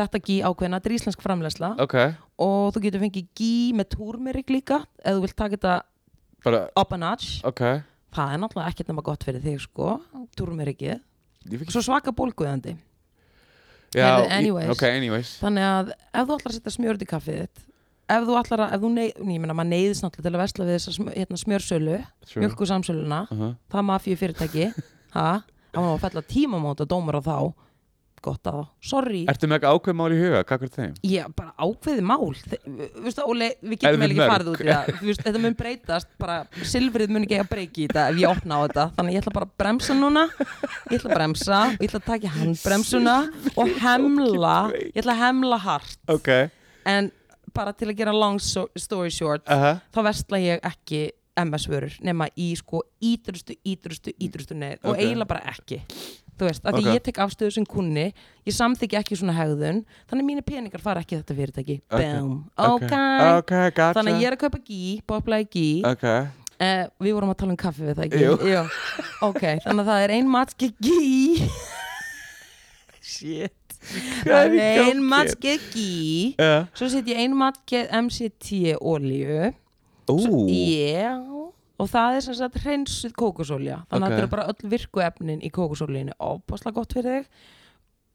Speaker 1: þetta gí ákveðna, þetta er íslensk framleysla
Speaker 2: ok
Speaker 1: og þú getur fengið gí með túrmerik líka ef þú vilt taka þetta
Speaker 2: Bara,
Speaker 1: up a notch,
Speaker 2: ok
Speaker 1: það er náttúrulega ekkert nema gott fyrir þig sko, túrmerikið,
Speaker 2: Ég fikk
Speaker 1: svo svaka bólguðandi.
Speaker 2: Já,
Speaker 1: Heyrðu, anyways.
Speaker 2: Ég, ok, anyways
Speaker 1: Þannig að ef þú ætlar að setja smjörð í kaffið þitt, ef þú ætlar að, ef þú neyð, ég meina maður neyðist náttúrulega til að vesla við þessa sm- hérna, smjörsölu,
Speaker 2: Sure.
Speaker 1: mjölkusamsöluna,
Speaker 2: uh -huh.
Speaker 1: það mafíu fyrirtæki ha, það var nú að fella tímamóta dómur á þá gott að þá, sorry
Speaker 2: Ertu með ekki ákveð mál í huga, hvað er þeim?
Speaker 1: ég bara ákveði mál Þe- veistu, Óli, við getum
Speaker 2: Erum
Speaker 1: vel
Speaker 2: við
Speaker 1: ekki
Speaker 2: mörg?
Speaker 1: farið út í það Þú veist, þetta mun breytast, bara silfrið mun ekki að breyki í þetta ef ég opna á þetta þannig að ég ætla bara að bremsa núna ég ætla að bremsa, og ég ætla að taka í handbremsuna og hemla ég ætla að hemla hart
Speaker 2: Ok
Speaker 1: en bara til að gera long so story short
Speaker 2: uh -huh.
Speaker 1: þá vestla ég ekki MS-vörur nema í sko ídrustu, ídrustu, ídrustu neður og
Speaker 2: Ok.
Speaker 1: eiginlega bara ekki þú veist, af því
Speaker 2: Ok.
Speaker 1: ég tek afstöðu sem kunni ég samþykja ekki svona hegðun þannig að mínir peningar fara ekki í þetta fyrirtæki
Speaker 2: Ok.
Speaker 1: Bum,
Speaker 2: Ok,
Speaker 1: ok,
Speaker 2: Ok, gotcha
Speaker 1: þannig að ég er að kaupa gí, bóplaði gí
Speaker 2: Ok
Speaker 1: eh, við vorum að tala um kaffi við það ekki
Speaker 2: Jú.
Speaker 1: ok, þannig að það er ein matski gí
Speaker 2: *laughs*
Speaker 1: shit
Speaker 2: er í
Speaker 1: það er ein
Speaker 2: gangi?
Speaker 1: matski gí
Speaker 2: uh,
Speaker 1: svo set ég ein matski MCT olíu
Speaker 2: Ú,
Speaker 1: Já, og það er sem sagt hreinsuð kókosolja þannig að
Speaker 2: Ok.
Speaker 1: þetta eru bara öll virku efnin í kókosoljunni ofbáslega gott fyrir þig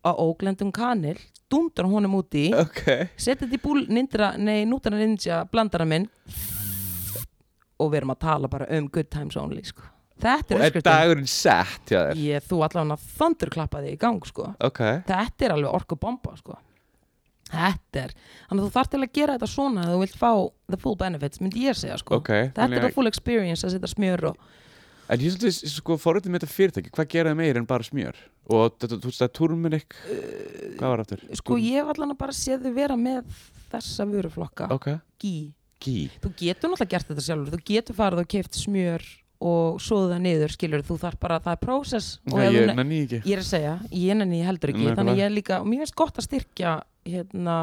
Speaker 1: og óglendum kanil, dundar honum úti
Speaker 2: ok
Speaker 1: setja þetta í búl nindra, nei, nútana ninja blandara minn og við erum að tala bara um good times only sko. þetta
Speaker 2: Og
Speaker 1: er
Speaker 2: er
Speaker 1: öskrið
Speaker 2: dagurinn sett hjá þér?
Speaker 1: ég, þú allan að þandurklappa þig í gang sko.
Speaker 2: Ok
Speaker 1: þetta er alveg orkubomba sko. þetta er þannig að þú þarf til að gera þetta svona að þú vilt fá the full benefits, myndi ég segja sko.
Speaker 2: Ok,
Speaker 1: Þetta er
Speaker 2: þannig
Speaker 1: það full experience að setja smjör og
Speaker 2: En ég er svolítið sko forröndið með þetta fyrirtæki Hvað geraði meir en bara smjör? Og þetta, þú veist það, turmerik
Speaker 1: Eh,
Speaker 2: Hvað var aftur? Sko-
Speaker 1: sko ég hef allan að bara séð þau vera með þessa vöruflokka
Speaker 2: Ok,
Speaker 1: gí,
Speaker 2: ekki í
Speaker 1: þú getur náttúrulega gert þetta sjálfur þú getur farið og keift smjör og svoða niður, skilur, þú þarf bara það er process og
Speaker 2: Nei,
Speaker 1: ef þú
Speaker 2: ég
Speaker 1: ne-
Speaker 2: nenni því ekki
Speaker 1: ég er að segja, ég nenni því heldur ekki
Speaker 2: Nákvæmlega.
Speaker 1: þannig ég er líka, og mér finnst gott að styrkja hérna,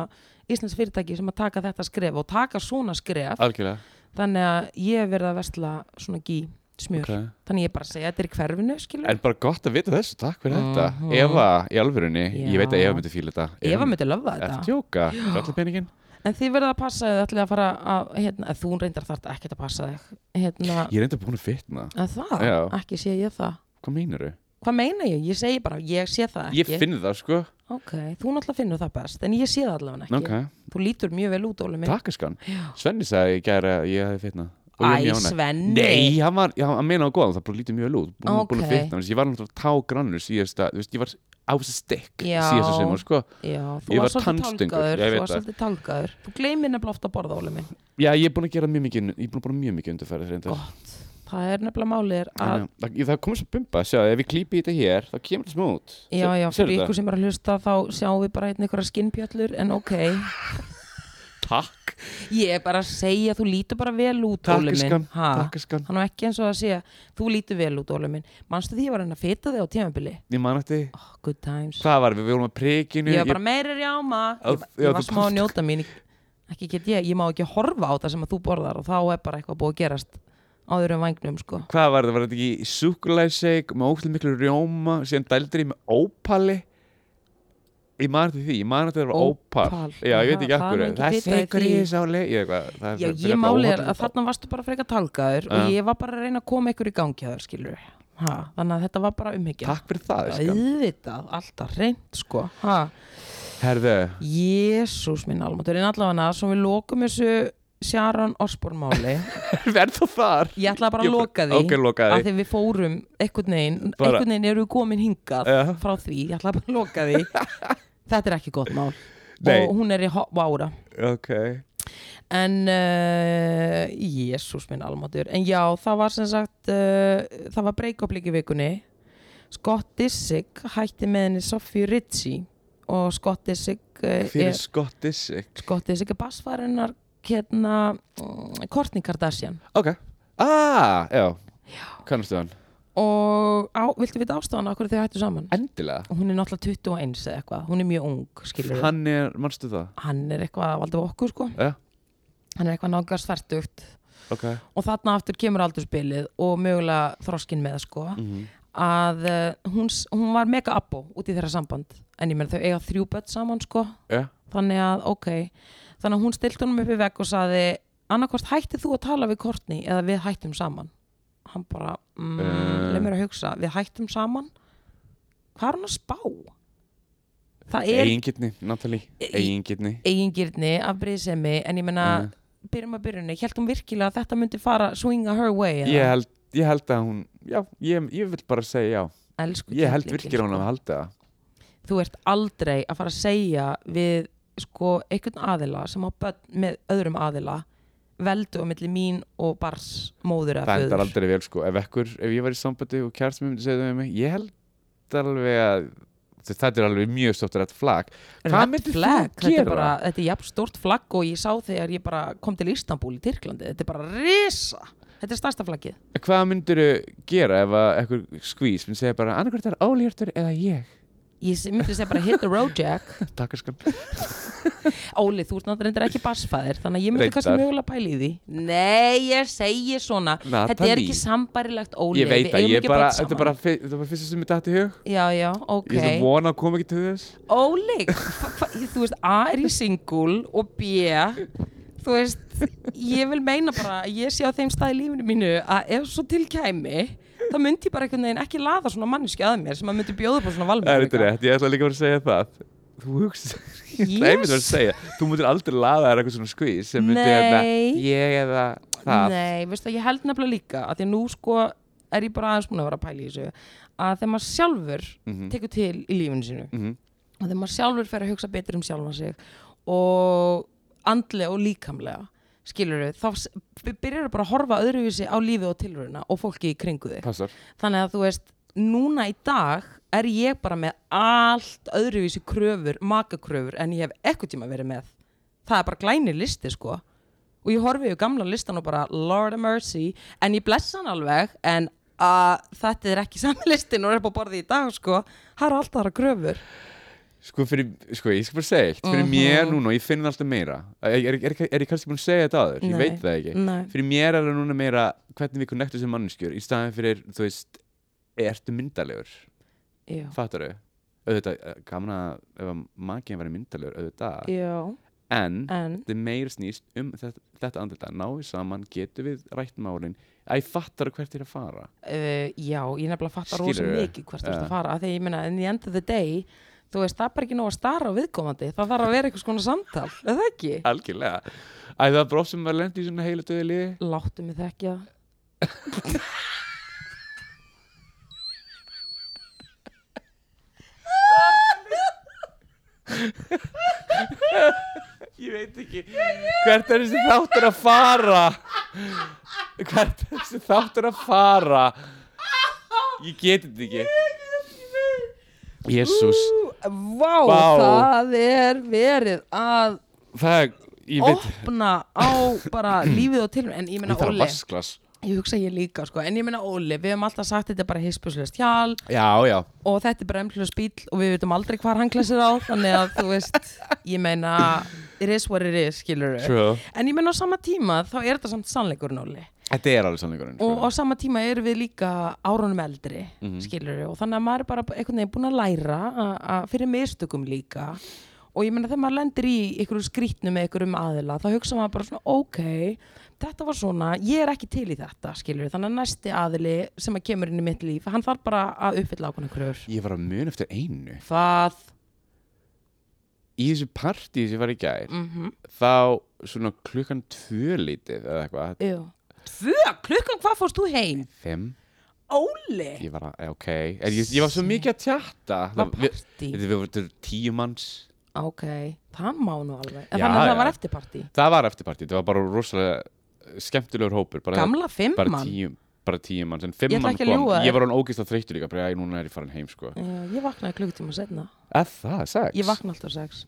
Speaker 1: Íslands fyrirtæki sem að taka þetta skref og taka svona skref
Speaker 2: algjörlega
Speaker 1: þannig að ég hef verið að vestla svona gí smjör,
Speaker 2: okay.
Speaker 1: þannig ég bara að segja þetta er í hverfinu, skilur,
Speaker 2: en bara gott að vita þessu, takk fyrir
Speaker 1: Mhm.
Speaker 2: þetta Eva, í alvörunni,
Speaker 1: Já.
Speaker 2: ég veit að Eva myndi fíla þetta
Speaker 1: Eva myndi löfða
Speaker 2: þetta
Speaker 1: þetta
Speaker 2: eftir tjóka, allir peningin
Speaker 1: en þið verða að passa þið ætlið að fara að, hérna, að þú reyndar þarf ekkert að passa þig hérna,
Speaker 2: ég er enda búin að fitna,
Speaker 1: að það,
Speaker 2: Já.
Speaker 1: ekki sé ég það
Speaker 2: hvað meinar þau?
Speaker 1: hvað meina ég, ég segi bara, ég sé það
Speaker 2: ég
Speaker 1: ekki
Speaker 2: finn það sko,
Speaker 1: ok, þú náttúrulega finnur það best en ég sé það allavega ekki,
Speaker 2: ok,
Speaker 1: þú lítur mjög vel út Óli minn,
Speaker 2: takkaskan Svenni sagði í gær að ég hefði fitnað Og ég
Speaker 1: æ,
Speaker 2: var mjög ánægð.
Speaker 1: Svenni
Speaker 2: Nei, hann, var, já, hann meina á góðan, það bara lítið mjög lút Búin okay. búin
Speaker 1: Ok.
Speaker 2: að fitna, þess að ég var náttúrulega tágrannur síðasta, þú veist, ég var á þessi stikk
Speaker 1: Já.
Speaker 2: síðasta sem sko
Speaker 1: Já, þú
Speaker 2: Ég
Speaker 1: var
Speaker 2: var
Speaker 1: svolítið
Speaker 2: tannstöngur,
Speaker 1: tálgaður Þú
Speaker 2: ég
Speaker 1: var
Speaker 2: veit það.
Speaker 1: svolítið tálgaður Þú gleymir nefnilega ofta að borða, Óli minn
Speaker 2: Já, ég er búin að gera mjög mikið, ég er búin að búin mjög mikið undirferðið reyndar
Speaker 1: Gott, það er nefnilega málið er að
Speaker 2: Þannig að- Það, það komið svo bumba, sjá, ef ég klípi í þetta hér, þá kemur það smút
Speaker 1: Já, já, fyrir ykkur sem er að hlusta þá sjáum við bara einhverja einhverja skinnbjöllur en ok,
Speaker 2: *laughs* Takk,
Speaker 1: ég er bara að segja þú lítur bara vel út, Óli minn
Speaker 2: takkaskan,
Speaker 1: Ha,
Speaker 2: takkaskan
Speaker 1: Hann var ekki eins og að segja þú lítur vel út, Óli minn Manstu því ég var að reyna að fita þig á tímabili?
Speaker 2: Ég man eftir,
Speaker 1: Oh, good times
Speaker 2: hvað var við, við vorum að prikinu
Speaker 1: Ég var bara meira rjáma
Speaker 2: Já,
Speaker 1: Ég,
Speaker 2: já,
Speaker 1: ég var
Speaker 2: þú
Speaker 1: smá að
Speaker 2: pant-
Speaker 1: njóta mín Ég- Ekki get ég, ég má ekki horfa á það sem að þú borðar og þá er bara eitthvað búið að gerast áður um vangnum, sko
Speaker 2: Hvað var þetta, var þetta ekki súkulæseg með ókslega miklu rjóma, síðan dældir ég með ópali Ég man eftir því, ég man eftir að það var ópal,
Speaker 1: Ópal.
Speaker 2: Já, ég veit
Speaker 1: Það-
Speaker 2: ekki af
Speaker 1: það er
Speaker 2: hverju,
Speaker 1: engin
Speaker 2: það er
Speaker 1: fita í
Speaker 2: segur í
Speaker 1: því.
Speaker 2: þessu áli Ég, eitthvað, það er
Speaker 1: Já,
Speaker 2: fyrir-
Speaker 1: ég
Speaker 2: fyrir
Speaker 1: máli er
Speaker 2: óhollur-
Speaker 1: að þarna varstu bara frekar talgaður og
Speaker 2: Já.
Speaker 1: ég var bara að reyna að koma ykkur í gangi að þér, skilur ha, Þannig að þetta var bara umhyggja
Speaker 2: Takk fyrir það, skan
Speaker 1: Auðvitað, alltaf reynd, sko ha. *laughs*
Speaker 2: Herðu,
Speaker 1: Jésús minn almatur En allavega, svo við lokum þessu Sharon Osborn
Speaker 2: *laughs*
Speaker 1: máli
Speaker 2: verð þú þar?
Speaker 1: Ég ætlaði bara að
Speaker 2: Ég bara-
Speaker 1: loka því
Speaker 2: Ok, loka því.
Speaker 1: Af því við fórum einhvern veginn
Speaker 2: Bara-
Speaker 1: Einhvern veginn eru við komin hingað
Speaker 2: Já.
Speaker 1: frá því Ég ætlaði bara að loka
Speaker 2: *laughs*
Speaker 1: því Þetta er ekki gott mál
Speaker 2: Nei.
Speaker 1: Og hún er í vára
Speaker 2: Ok
Speaker 1: En uh, Jésús minn almatur En já, það var sem sagt uh, Það var break-up líka í vikunni Scott Disick hætti með henni Sophie Ritchie Og Scott Disick uh,
Speaker 2: fyrir
Speaker 1: er,
Speaker 2: Scott Disick
Speaker 1: Scott Disick er bassfærinar Hérna mm, Kourtney Kardashian
Speaker 2: ok, ah, já kannastu hann,
Speaker 1: Og á, viltu vita ástofan Akkur þau hættu saman?
Speaker 2: endilega
Speaker 1: Hún er náttúrulega 21 eða eitthvað Hún er mjög ung, skilur
Speaker 2: hann er, mannstu það
Speaker 1: Hann er eitthvað að valda okkur sko
Speaker 2: já,
Speaker 1: Hann er eitthvað náttúrulega svertugt
Speaker 2: ok,
Speaker 1: Og þarna aftur kemur aldurspilið Og mögulega þroskin með sko
Speaker 2: Mhm.
Speaker 1: að uh, hún, s- hún var mega abbo út í þeirra samband en ég meina þau eiga þrjú börn saman sko
Speaker 2: já,
Speaker 1: þannig að ok þannig að hún stilt honum upp í vegg og saði annarkvort hætti þú að tala við Kortni eða við hættum saman hann bara, mm,
Speaker 2: Eh.
Speaker 1: leið mér að hugsa við hættum saman hvað er hann að spá? það er
Speaker 2: eigingirni, Natalie
Speaker 1: Ég-
Speaker 2: eigingirni,
Speaker 1: eigingirni af bríðsemi en ég meina,
Speaker 2: Mm.
Speaker 1: byrjum að byrjunni held hún virkilega að þetta myndi fara swinga her way eða?
Speaker 2: ég held ég held að hún, já, ég, ég vil bara segja já,
Speaker 1: Elsku
Speaker 2: ég held
Speaker 1: kettlingin,
Speaker 2: virkilega hún
Speaker 1: sko.
Speaker 2: að halda það
Speaker 1: þú ert aldrei að fara að segja við sko einhvern aðila sem á börn með öðrum aðila veldu á milli mín og bars móður
Speaker 2: það
Speaker 1: eða
Speaker 2: endar aldrei vel sko, ef ekkur ef ég var í sambandi og kjærst mér myndi segja það með mig ég held alveg að þetta er alveg mjög stótt rætt flag hvað
Speaker 1: Red
Speaker 2: myndir þú
Speaker 1: flag, þetta er
Speaker 2: gera?
Speaker 1: bara, þetta er jafn stórt flagg og ég sá þegar ég bara kom til Istanbul í Tyrklandi, þetta er bara risa þetta er starsta flaggið,
Speaker 2: hvað myndir gera ef að ekkur skvís myndi segja bara annarkvært er ólíjartur eða ég *laughs*
Speaker 1: ég se- myndi segja bara hit the road jack,
Speaker 2: takkaskan
Speaker 1: Óli þú ert náttúrulega ekki basfæðir, þannig að ég myndi
Speaker 2: Reyndar.
Speaker 1: kannski mögulega pæla í því, nei ég segi svona, þetta er
Speaker 2: Natalie.
Speaker 1: ekki sambarilegt Óli,
Speaker 2: Ég veit
Speaker 1: við
Speaker 2: það,
Speaker 1: eigum
Speaker 2: ég
Speaker 1: ekki
Speaker 2: bara,
Speaker 1: börn
Speaker 2: þetta er
Speaker 1: saman.
Speaker 2: bara, fyr- þetta er bara fyrsta sem ég dætti í hug
Speaker 1: já já, ok
Speaker 2: Ég ætla að vona að koma ekki til þess
Speaker 1: Óli, hva- hva- þú veist, A er í singul og B, þú veist, ég vil meina bara, að ég sé á þeim stað í lífinu mínu að ef svo til kæmi, þá myndi ég bara einhvern veginn ekki laða svona manneski að mér sem að myndi bjóða upp á svona
Speaker 2: Það er þetta
Speaker 1: valmöguleika.
Speaker 2: rétt, ég ætla líka bara að segja það Þú hugst, ég
Speaker 1: Yes.
Speaker 2: ætla einmitt að vera að segja Þú myndir aldrei laða þær eitthvað svona skvís sem myndi hérna,
Speaker 1: Nei.
Speaker 2: ég eða það
Speaker 1: Nei, veistu, ég held nefnilega líka að því að nú sko er ég bara aðeins búin að vera að pæla í þessu að þegar maður sjálfur tekur til í lífinu sínu
Speaker 2: Mhm.
Speaker 1: og þegar maður sjálfur fer að hugsa betur um sjálfan sig og andlega og líkamlega skilur þau, þá byrjar þau bara að horfa öðruvísi á lífið og tilröðina og fólki í kringu þig
Speaker 2: Passar,
Speaker 1: þannig að þú veist, núna í dag er ég bara með allt öðruvísi kröfur, makakröfur en ég hef ekkert tíma verið með það er bara glænir listi sko og ég horfi yfir gamla listan og bara Lord of Mercy en ég blessa hann alveg en að þetta er ekki *laughs* sami listin og er upp á borði í dag sko það eru alltaf þaðra gröfur
Speaker 2: Sko, fyrir, sko, ég skal bara segja eitt
Speaker 1: Mhm.
Speaker 2: Fyrir mér núna, og ég finn það alltaf meira Er, er, er, er ég kannski búin að segja þetta aður? Ég
Speaker 1: Nei.
Speaker 2: veit það ekki
Speaker 1: Nei.
Speaker 2: Fyrir mér er það núna meira hvernig við connectum sem manneskjur Í staðin fyrir, þú veist, ertu myndalegur
Speaker 1: já,
Speaker 2: Fattar þau? Auðvitað, eh, gaman að ef að maginn væri myndalegur, auðvitað
Speaker 1: já,
Speaker 2: En,
Speaker 1: en
Speaker 2: þetta er meira snýst um þetta, þetta andlita Ná við saman, getum við rætt málin Æ, fattar hvert er að fara
Speaker 1: Uh, já, ég nefnilega fattar rosa
Speaker 2: Skilurðu?
Speaker 1: mikið hvert þú ert
Speaker 2: Ja.
Speaker 1: að fara, af því ég meina in the end of the day, þú veist, það er bara ekki nóg að stara á viðkomandi, það þarf að vera eitthvað svona samtal er það ekki?
Speaker 2: Algjörlega Æ, það er bara oft sem maður lendi í svona heilu döðu liði
Speaker 1: Láttu mig þekkja
Speaker 2: Ég veit ekki Hvert er þessi þáttur að fara Hvert er þessi þáttur að fara Ég geti þetta ekki Jésús
Speaker 1: Ú, Vá,
Speaker 2: Vá.
Speaker 1: það er verið að
Speaker 2: Það er, ég veit
Speaker 1: opna á bara
Speaker 2: *clears throat*
Speaker 1: lífið og tilum, en ég
Speaker 2: Ég
Speaker 1: meina
Speaker 2: þarf að
Speaker 1: Óli
Speaker 2: vasklas
Speaker 1: ég hugsa ég líka, sko, en ég meina Óli við hefum alltaf sagt þetta er bara hispuslega stjál
Speaker 2: Já, já
Speaker 1: og þetta er bara emplus bíl og við veitum aldrei hvar hann klæsir á þannig að þú veist, ég meina it is what it is, skilur
Speaker 2: True.
Speaker 1: en ég meina á sama tíma þá er þetta samt sannleikur náli
Speaker 2: Þetta er alveg sannleikurinn
Speaker 1: og á
Speaker 2: sko.
Speaker 1: sama tíma erum við líka árunum eldri mm og þannig að maður er bara einhvern veginn búin að læra a- að fyrir mistökum líka og ég meina þegar maður lendir í einhverju skrýtnu með einhverjum aðila þá hugsa maður bara svona ok þetta var svona, ég er ekki til í þetta skilur þannig að næsti aðili sem að kemur inn í mitt líf, hann þarf bara að uppfylla ákvæmna kröfur
Speaker 2: Ég var að mun eftir einu
Speaker 1: Það
Speaker 2: Í þessu partí sem ég var í gær
Speaker 1: Mhm.
Speaker 2: Þá svona klukkan tvö lítið eða eitthvað
Speaker 1: Tvö, klukkan hvað fórst þú heim?
Speaker 2: Fimm
Speaker 1: Óli
Speaker 2: Ég var að, ok Er Ég, ég var svo mikið að tjatta
Speaker 1: Var
Speaker 2: Það- við-
Speaker 1: partí?
Speaker 2: Við vorum tíu manns
Speaker 1: Ok, það má nú alveg En
Speaker 2: Já,
Speaker 1: þannig að
Speaker 2: já.
Speaker 1: það var eftirparti
Speaker 2: Það var eftirpartí, það var bara rosalega eh, skemmtilegur hópur bara,
Speaker 1: Gamla fimm
Speaker 2: bara
Speaker 1: mann
Speaker 2: tíu, bara tíu mann sem
Speaker 1: Ég
Speaker 2: fimm
Speaker 1: ætla
Speaker 2: mann
Speaker 1: ekki að
Speaker 2: kom,
Speaker 1: ljúga þér.
Speaker 2: ég var hann ógist að þreyttu líka bara, "Æ, núna er ég farin heim sko
Speaker 1: Já, Ég vaknaði klukkutíma setna
Speaker 2: Eða það, sex
Speaker 1: Ég vakna alltaf sex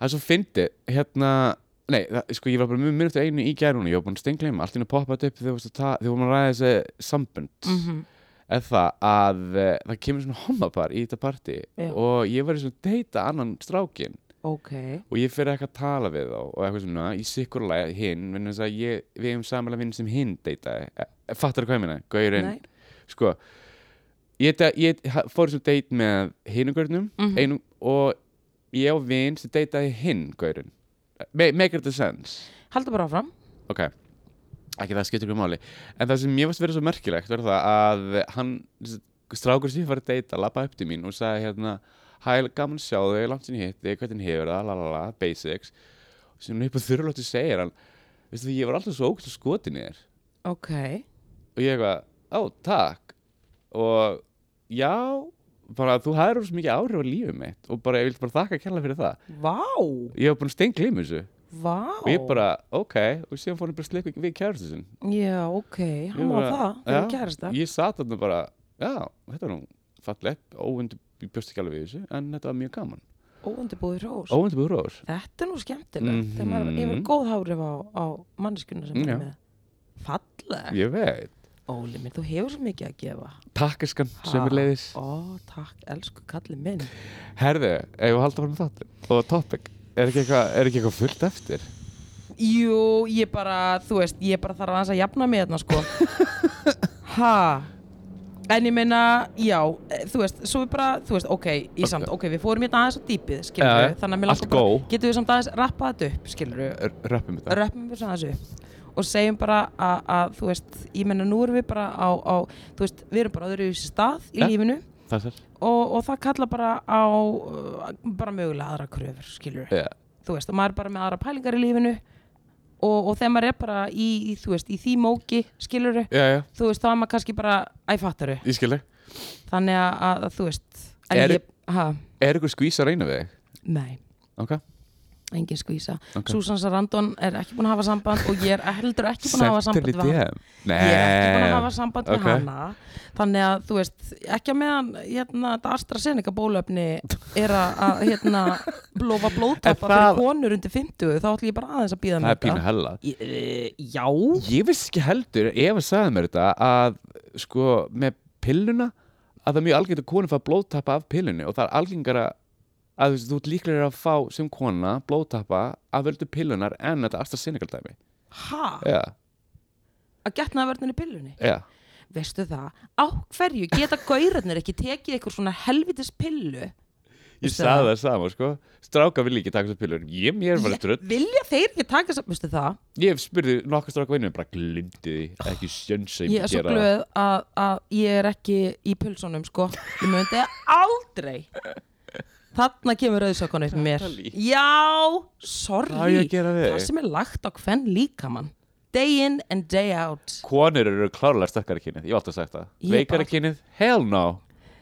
Speaker 2: Það er svo fyndi, hérna Nei, það, sko, ég var bara mjög myrkt einu í gær núna, ég var búin að stengleima, allt inn að poppa þetta upp þegar þú varum að ræða þessi sambund mm
Speaker 1: Mhm.
Speaker 2: -hmm. eða það að eh, það kemur svona homapar í þetta partí
Speaker 1: Já.
Speaker 2: og ég var í svona deyta annan strákin
Speaker 1: Ok
Speaker 2: og ég fyrir eitthvað að tala við þá og eitthvað svona, ég sikkur alveg hinn vegna þess að ég, við hefum samanlega vinn sem hinn deytaði, Eh, fattar hvað ég minna, gaurinn
Speaker 1: Nei.
Speaker 2: sko ég, de- ég ha- fór sem deit með hinum gaurinnum
Speaker 1: Mhm.
Speaker 2: einum, og ég á vinn sem deytaði hinn gaurinn, Ma- make it a sense
Speaker 1: Haldur bara áfram
Speaker 2: ok ekki það skiptir ykkur máli en það sem ég varst verið svo merkilegt var það að hann strákur sem ég var að deyta lappa upp til mín og sagði hérna hæ, gaman að sjá þau, langt sinni hitti hvernig hefur það, lalala, basics og sem hann upp á þurrlóttu segir hann veistu því, ég var alltaf svo ógst að skotin í þér
Speaker 1: Ok
Speaker 2: og ég eitthvað, ó, takk og já bara þú hafðir rosa mikið áhrif á lífið mitt og bara, ég vildi bara þakka kærlega fyrir það
Speaker 1: Vá
Speaker 2: ég hef búin að stengla þessu
Speaker 1: Vá
Speaker 2: og ég bara, ok, og síðan fór hann bara að slikku við kærastu sinn
Speaker 1: Já, ok
Speaker 2: Ég
Speaker 1: Hann má
Speaker 2: bara-
Speaker 1: það Það er
Speaker 2: já,
Speaker 1: kærasta
Speaker 2: Ég satt þarna bara, já, þetta er nú fallegt óundu, ég bjóst ekki alveg við þessu en þetta var mjög gaman,
Speaker 1: Óundibúði hrós
Speaker 2: óundu búið róður
Speaker 1: Þetta er nú skemmtilegt Þegar maður
Speaker 2: Mhm.
Speaker 1: hefur góð hárif á, á manneskuna sem
Speaker 2: Mm,
Speaker 1: maður er
Speaker 2: já.
Speaker 1: með Falleg
Speaker 2: Ég veit,
Speaker 1: Óli minn, þú hefur svo mikið að gefa
Speaker 2: takkaskan
Speaker 1: Ha.
Speaker 2: sem er leiðis
Speaker 1: Ó, takk, elsku kalli minn
Speaker 2: Herðu, ef við haldum fram þáttin og topic, er ekki eitthvað er ekki eitthvað fullt eftir?
Speaker 1: Jú, ég bara, þú veist, ég bara þarf aðeins að jafna mig þarna,
Speaker 2: *laughs*
Speaker 1: sko. ha? En ég meina, já, eh, þú veist, svo við bara, þú veist, ok, ég samt, ok, við fórum hérna aðeins á dýpið, skilur
Speaker 2: Já, já.
Speaker 1: þannig að mér
Speaker 2: Allt
Speaker 1: langar bara,
Speaker 2: góð.
Speaker 1: getum við samt aðeins rappa þetta upp, skilur við,
Speaker 2: R- Röppum þetta
Speaker 1: röppum við svona þessu upp og segjum bara að, að, þú veist, ég meina, nú erum við bara á, á þú veist, við erum bara öðru í þessi stað í
Speaker 2: Já.
Speaker 1: lífinu
Speaker 2: Það er
Speaker 1: og, og það kalla bara á, uh, bara mögulega aðra kröfur, skilur
Speaker 2: yeah.
Speaker 1: þú veist, og maður er bara með aðra pælingar í lífinu og, og þegar maður er bara í, í þú veist, í því móki, skiluru
Speaker 2: Já, já,
Speaker 1: þú veist, þá er maður kannski bara æfattaru
Speaker 2: ég skil þig
Speaker 1: þannig að, að þú veist en
Speaker 2: Er-
Speaker 1: ég, ha,
Speaker 2: Er eitthvað skvís að reyna við þig?
Speaker 1: nei
Speaker 2: Ok,
Speaker 1: engin skvísa
Speaker 2: Ok.
Speaker 1: Susan Sarandon er ekki búin að hafa samband og ég er *laughs* heldur ekki búin að hafa
Speaker 2: Sendir
Speaker 1: samband
Speaker 2: í
Speaker 1: við hana
Speaker 2: DM Nei
Speaker 1: ég er ekki búin að hafa samband
Speaker 2: ok.
Speaker 1: við hana þannig að þú veist, ekki að meðan hérna, þetta AstraZeneca bólöfni er að- að hérna,
Speaker 2: *laughs*
Speaker 1: lofa blóðtappa
Speaker 2: það-
Speaker 1: fyrir konur undir 50 þá ætlum ég bara aðeins að býða
Speaker 2: Það
Speaker 1: með
Speaker 2: er pínu hella
Speaker 1: Ég- eh, Já,
Speaker 2: Ég vissi ekki heldur, Eva sagði mér þetta að sko með pilluna að það er mjög algengt að konu fá blóðtappa af pillunni og það er algengara að þú veist, þú ert líklega að fá sem kona blóðtappa af völdu pillunar en þetta AstraZeneca dæmi
Speaker 1: ha,
Speaker 2: Já,
Speaker 1: að getna að verðinu pillunni
Speaker 2: já
Speaker 1: Veistu það, á hverju geta gaurarnir ekki tekið eitthvað svona helvitis pillu
Speaker 2: Ég
Speaker 1: Veistu
Speaker 2: sagði það sama, sko Stráka vil ekki taka þessar pillur Ég mér var
Speaker 1: Ég-
Speaker 2: þetta rödd
Speaker 1: Vilja þeir ekki taka þess að, veistu það
Speaker 2: Ég spurði nokkuð stráka vinnum bara glimti því ekki sjöns að
Speaker 1: Ég er svo
Speaker 2: gera það.
Speaker 1: glöð að, að ég er ekki í pulsunum sko Ég myndi aldrei Þarna kemur rauðsökan upp með mér
Speaker 2: Natalie.
Speaker 1: Já,
Speaker 2: Hvað á ég
Speaker 1: sorry
Speaker 2: að gera við
Speaker 1: Það
Speaker 2: þig?
Speaker 1: sem er lagt á hvern líkamann Day in and day out
Speaker 2: Konur eru klárlega stakkara kynið, ég hef alltaf sagt það
Speaker 1: Ég
Speaker 2: Veikara
Speaker 1: bara-
Speaker 2: kynið, hell no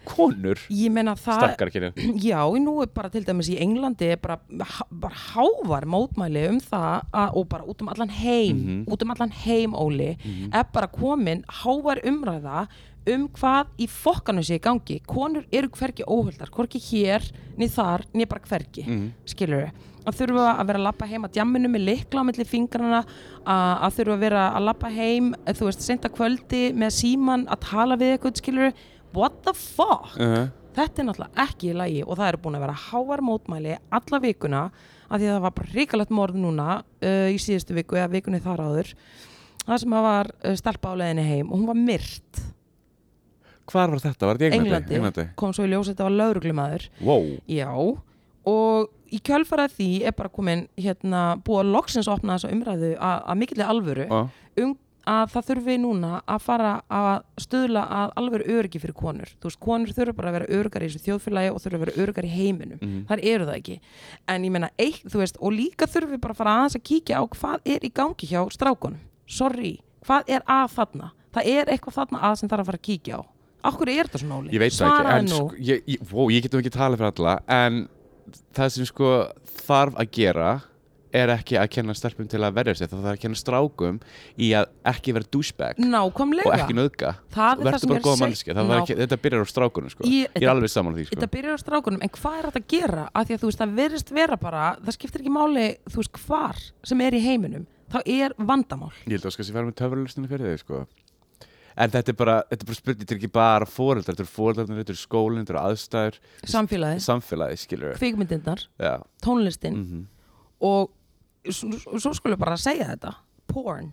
Speaker 2: Konur,
Speaker 1: Ég meina það
Speaker 2: stakkara kynið
Speaker 1: *clears throat* Já, nú er bara til dæmis í Englandi er bara, há- bara hávar mótmæli um það að, og bara út um allan heim út um allan heim, Óli er bara komin hávar umræða um hvað í fokkanu sé í gangi konur eru hvergi óhöldar hvorki hér, niður þar, niður bara hvergi mm skilur við að þurfa að vera að lappa heim að djamminu með likla á milli fingrana að, að þurfa að vera að lappa heim þú veist, seinta kvöldi með síman að tala við eitthvað, skilur við what the fuck
Speaker 2: -huh.
Speaker 1: þetta er náttúrulega ekki í lagi og það eru búin að vera háar mótmæli alla vikuna af því að það var bara ríkalegt morð núna uh, í síðustu viku eða vikunni þar áður það sem að var uh, stelpa á leiðinni heim og hún var myrt
Speaker 2: Hvar var þetta? Var þetta í Englandi?
Speaker 1: Englandi, kom svo í ljós að þetta var lauruglumadur
Speaker 2: Wow.
Speaker 1: já og í kjölfarað því er bara komin hérna búið að loksins opna þessa umræðu að að mikilli alvöru
Speaker 2: Ah.
Speaker 1: um að það þurfi núna að fara að stuðla að alveg öryggi fyrir konur þú veist, konur þurfa bara að vera öryggar í þessu þjóðfélagi og þurfa að vera öryggar í heiminum
Speaker 2: Mhm.
Speaker 1: þar eru það ekki, en ég meina eitt, þú veist, og líka þurfi bara að fara aðeins að kíkja á hvað er í gangi hjá strákunum sorry, hvað er að þarna það er eitthvað þarna að sem þarf að fara að kíkja á okkur er þetta svona óli,
Speaker 2: Ég veit það ekki, en
Speaker 1: svaraði nú
Speaker 2: sko, ég, ég, wow, ég getum ekki talað fyrir alla, en það sem sko þarf að gera er ekki að kenna stelpum til að verja sér, það þarf að kenna strákum í að ekki vera douchebag og
Speaker 1: nákvæmlega
Speaker 2: ekki nöðga.
Speaker 1: Það er það sem ég er að
Speaker 2: góð
Speaker 1: segja.
Speaker 2: mannskja, það var ekki, þetta byrjar á strákunum sko,
Speaker 1: Ég-
Speaker 2: ég, er alveg saman því sko.
Speaker 1: þetta byrjar á strákunum, en hvað er þetta að gera af því að þú veist, það verðist vera bara það skiptir ekki máli, þú veist, hvar sem er í heiminum, þá er vandamál
Speaker 2: Ég held að sko að ég verði með töfralustinu fyrir þig sko. En þetta er bara, þetta er bara spurning, þetta er ekki bara fóreldrar, þetta er fóreldrarnir, þetta er skólinn, þetta er aðstæður,
Speaker 1: samfélagið,
Speaker 2: samfélagi, skilur við.
Speaker 1: kvikmyndirnar,
Speaker 2: Já,
Speaker 1: tónlistin
Speaker 2: mhm.
Speaker 1: og s- s- svo skulum bara að segja þetta porn,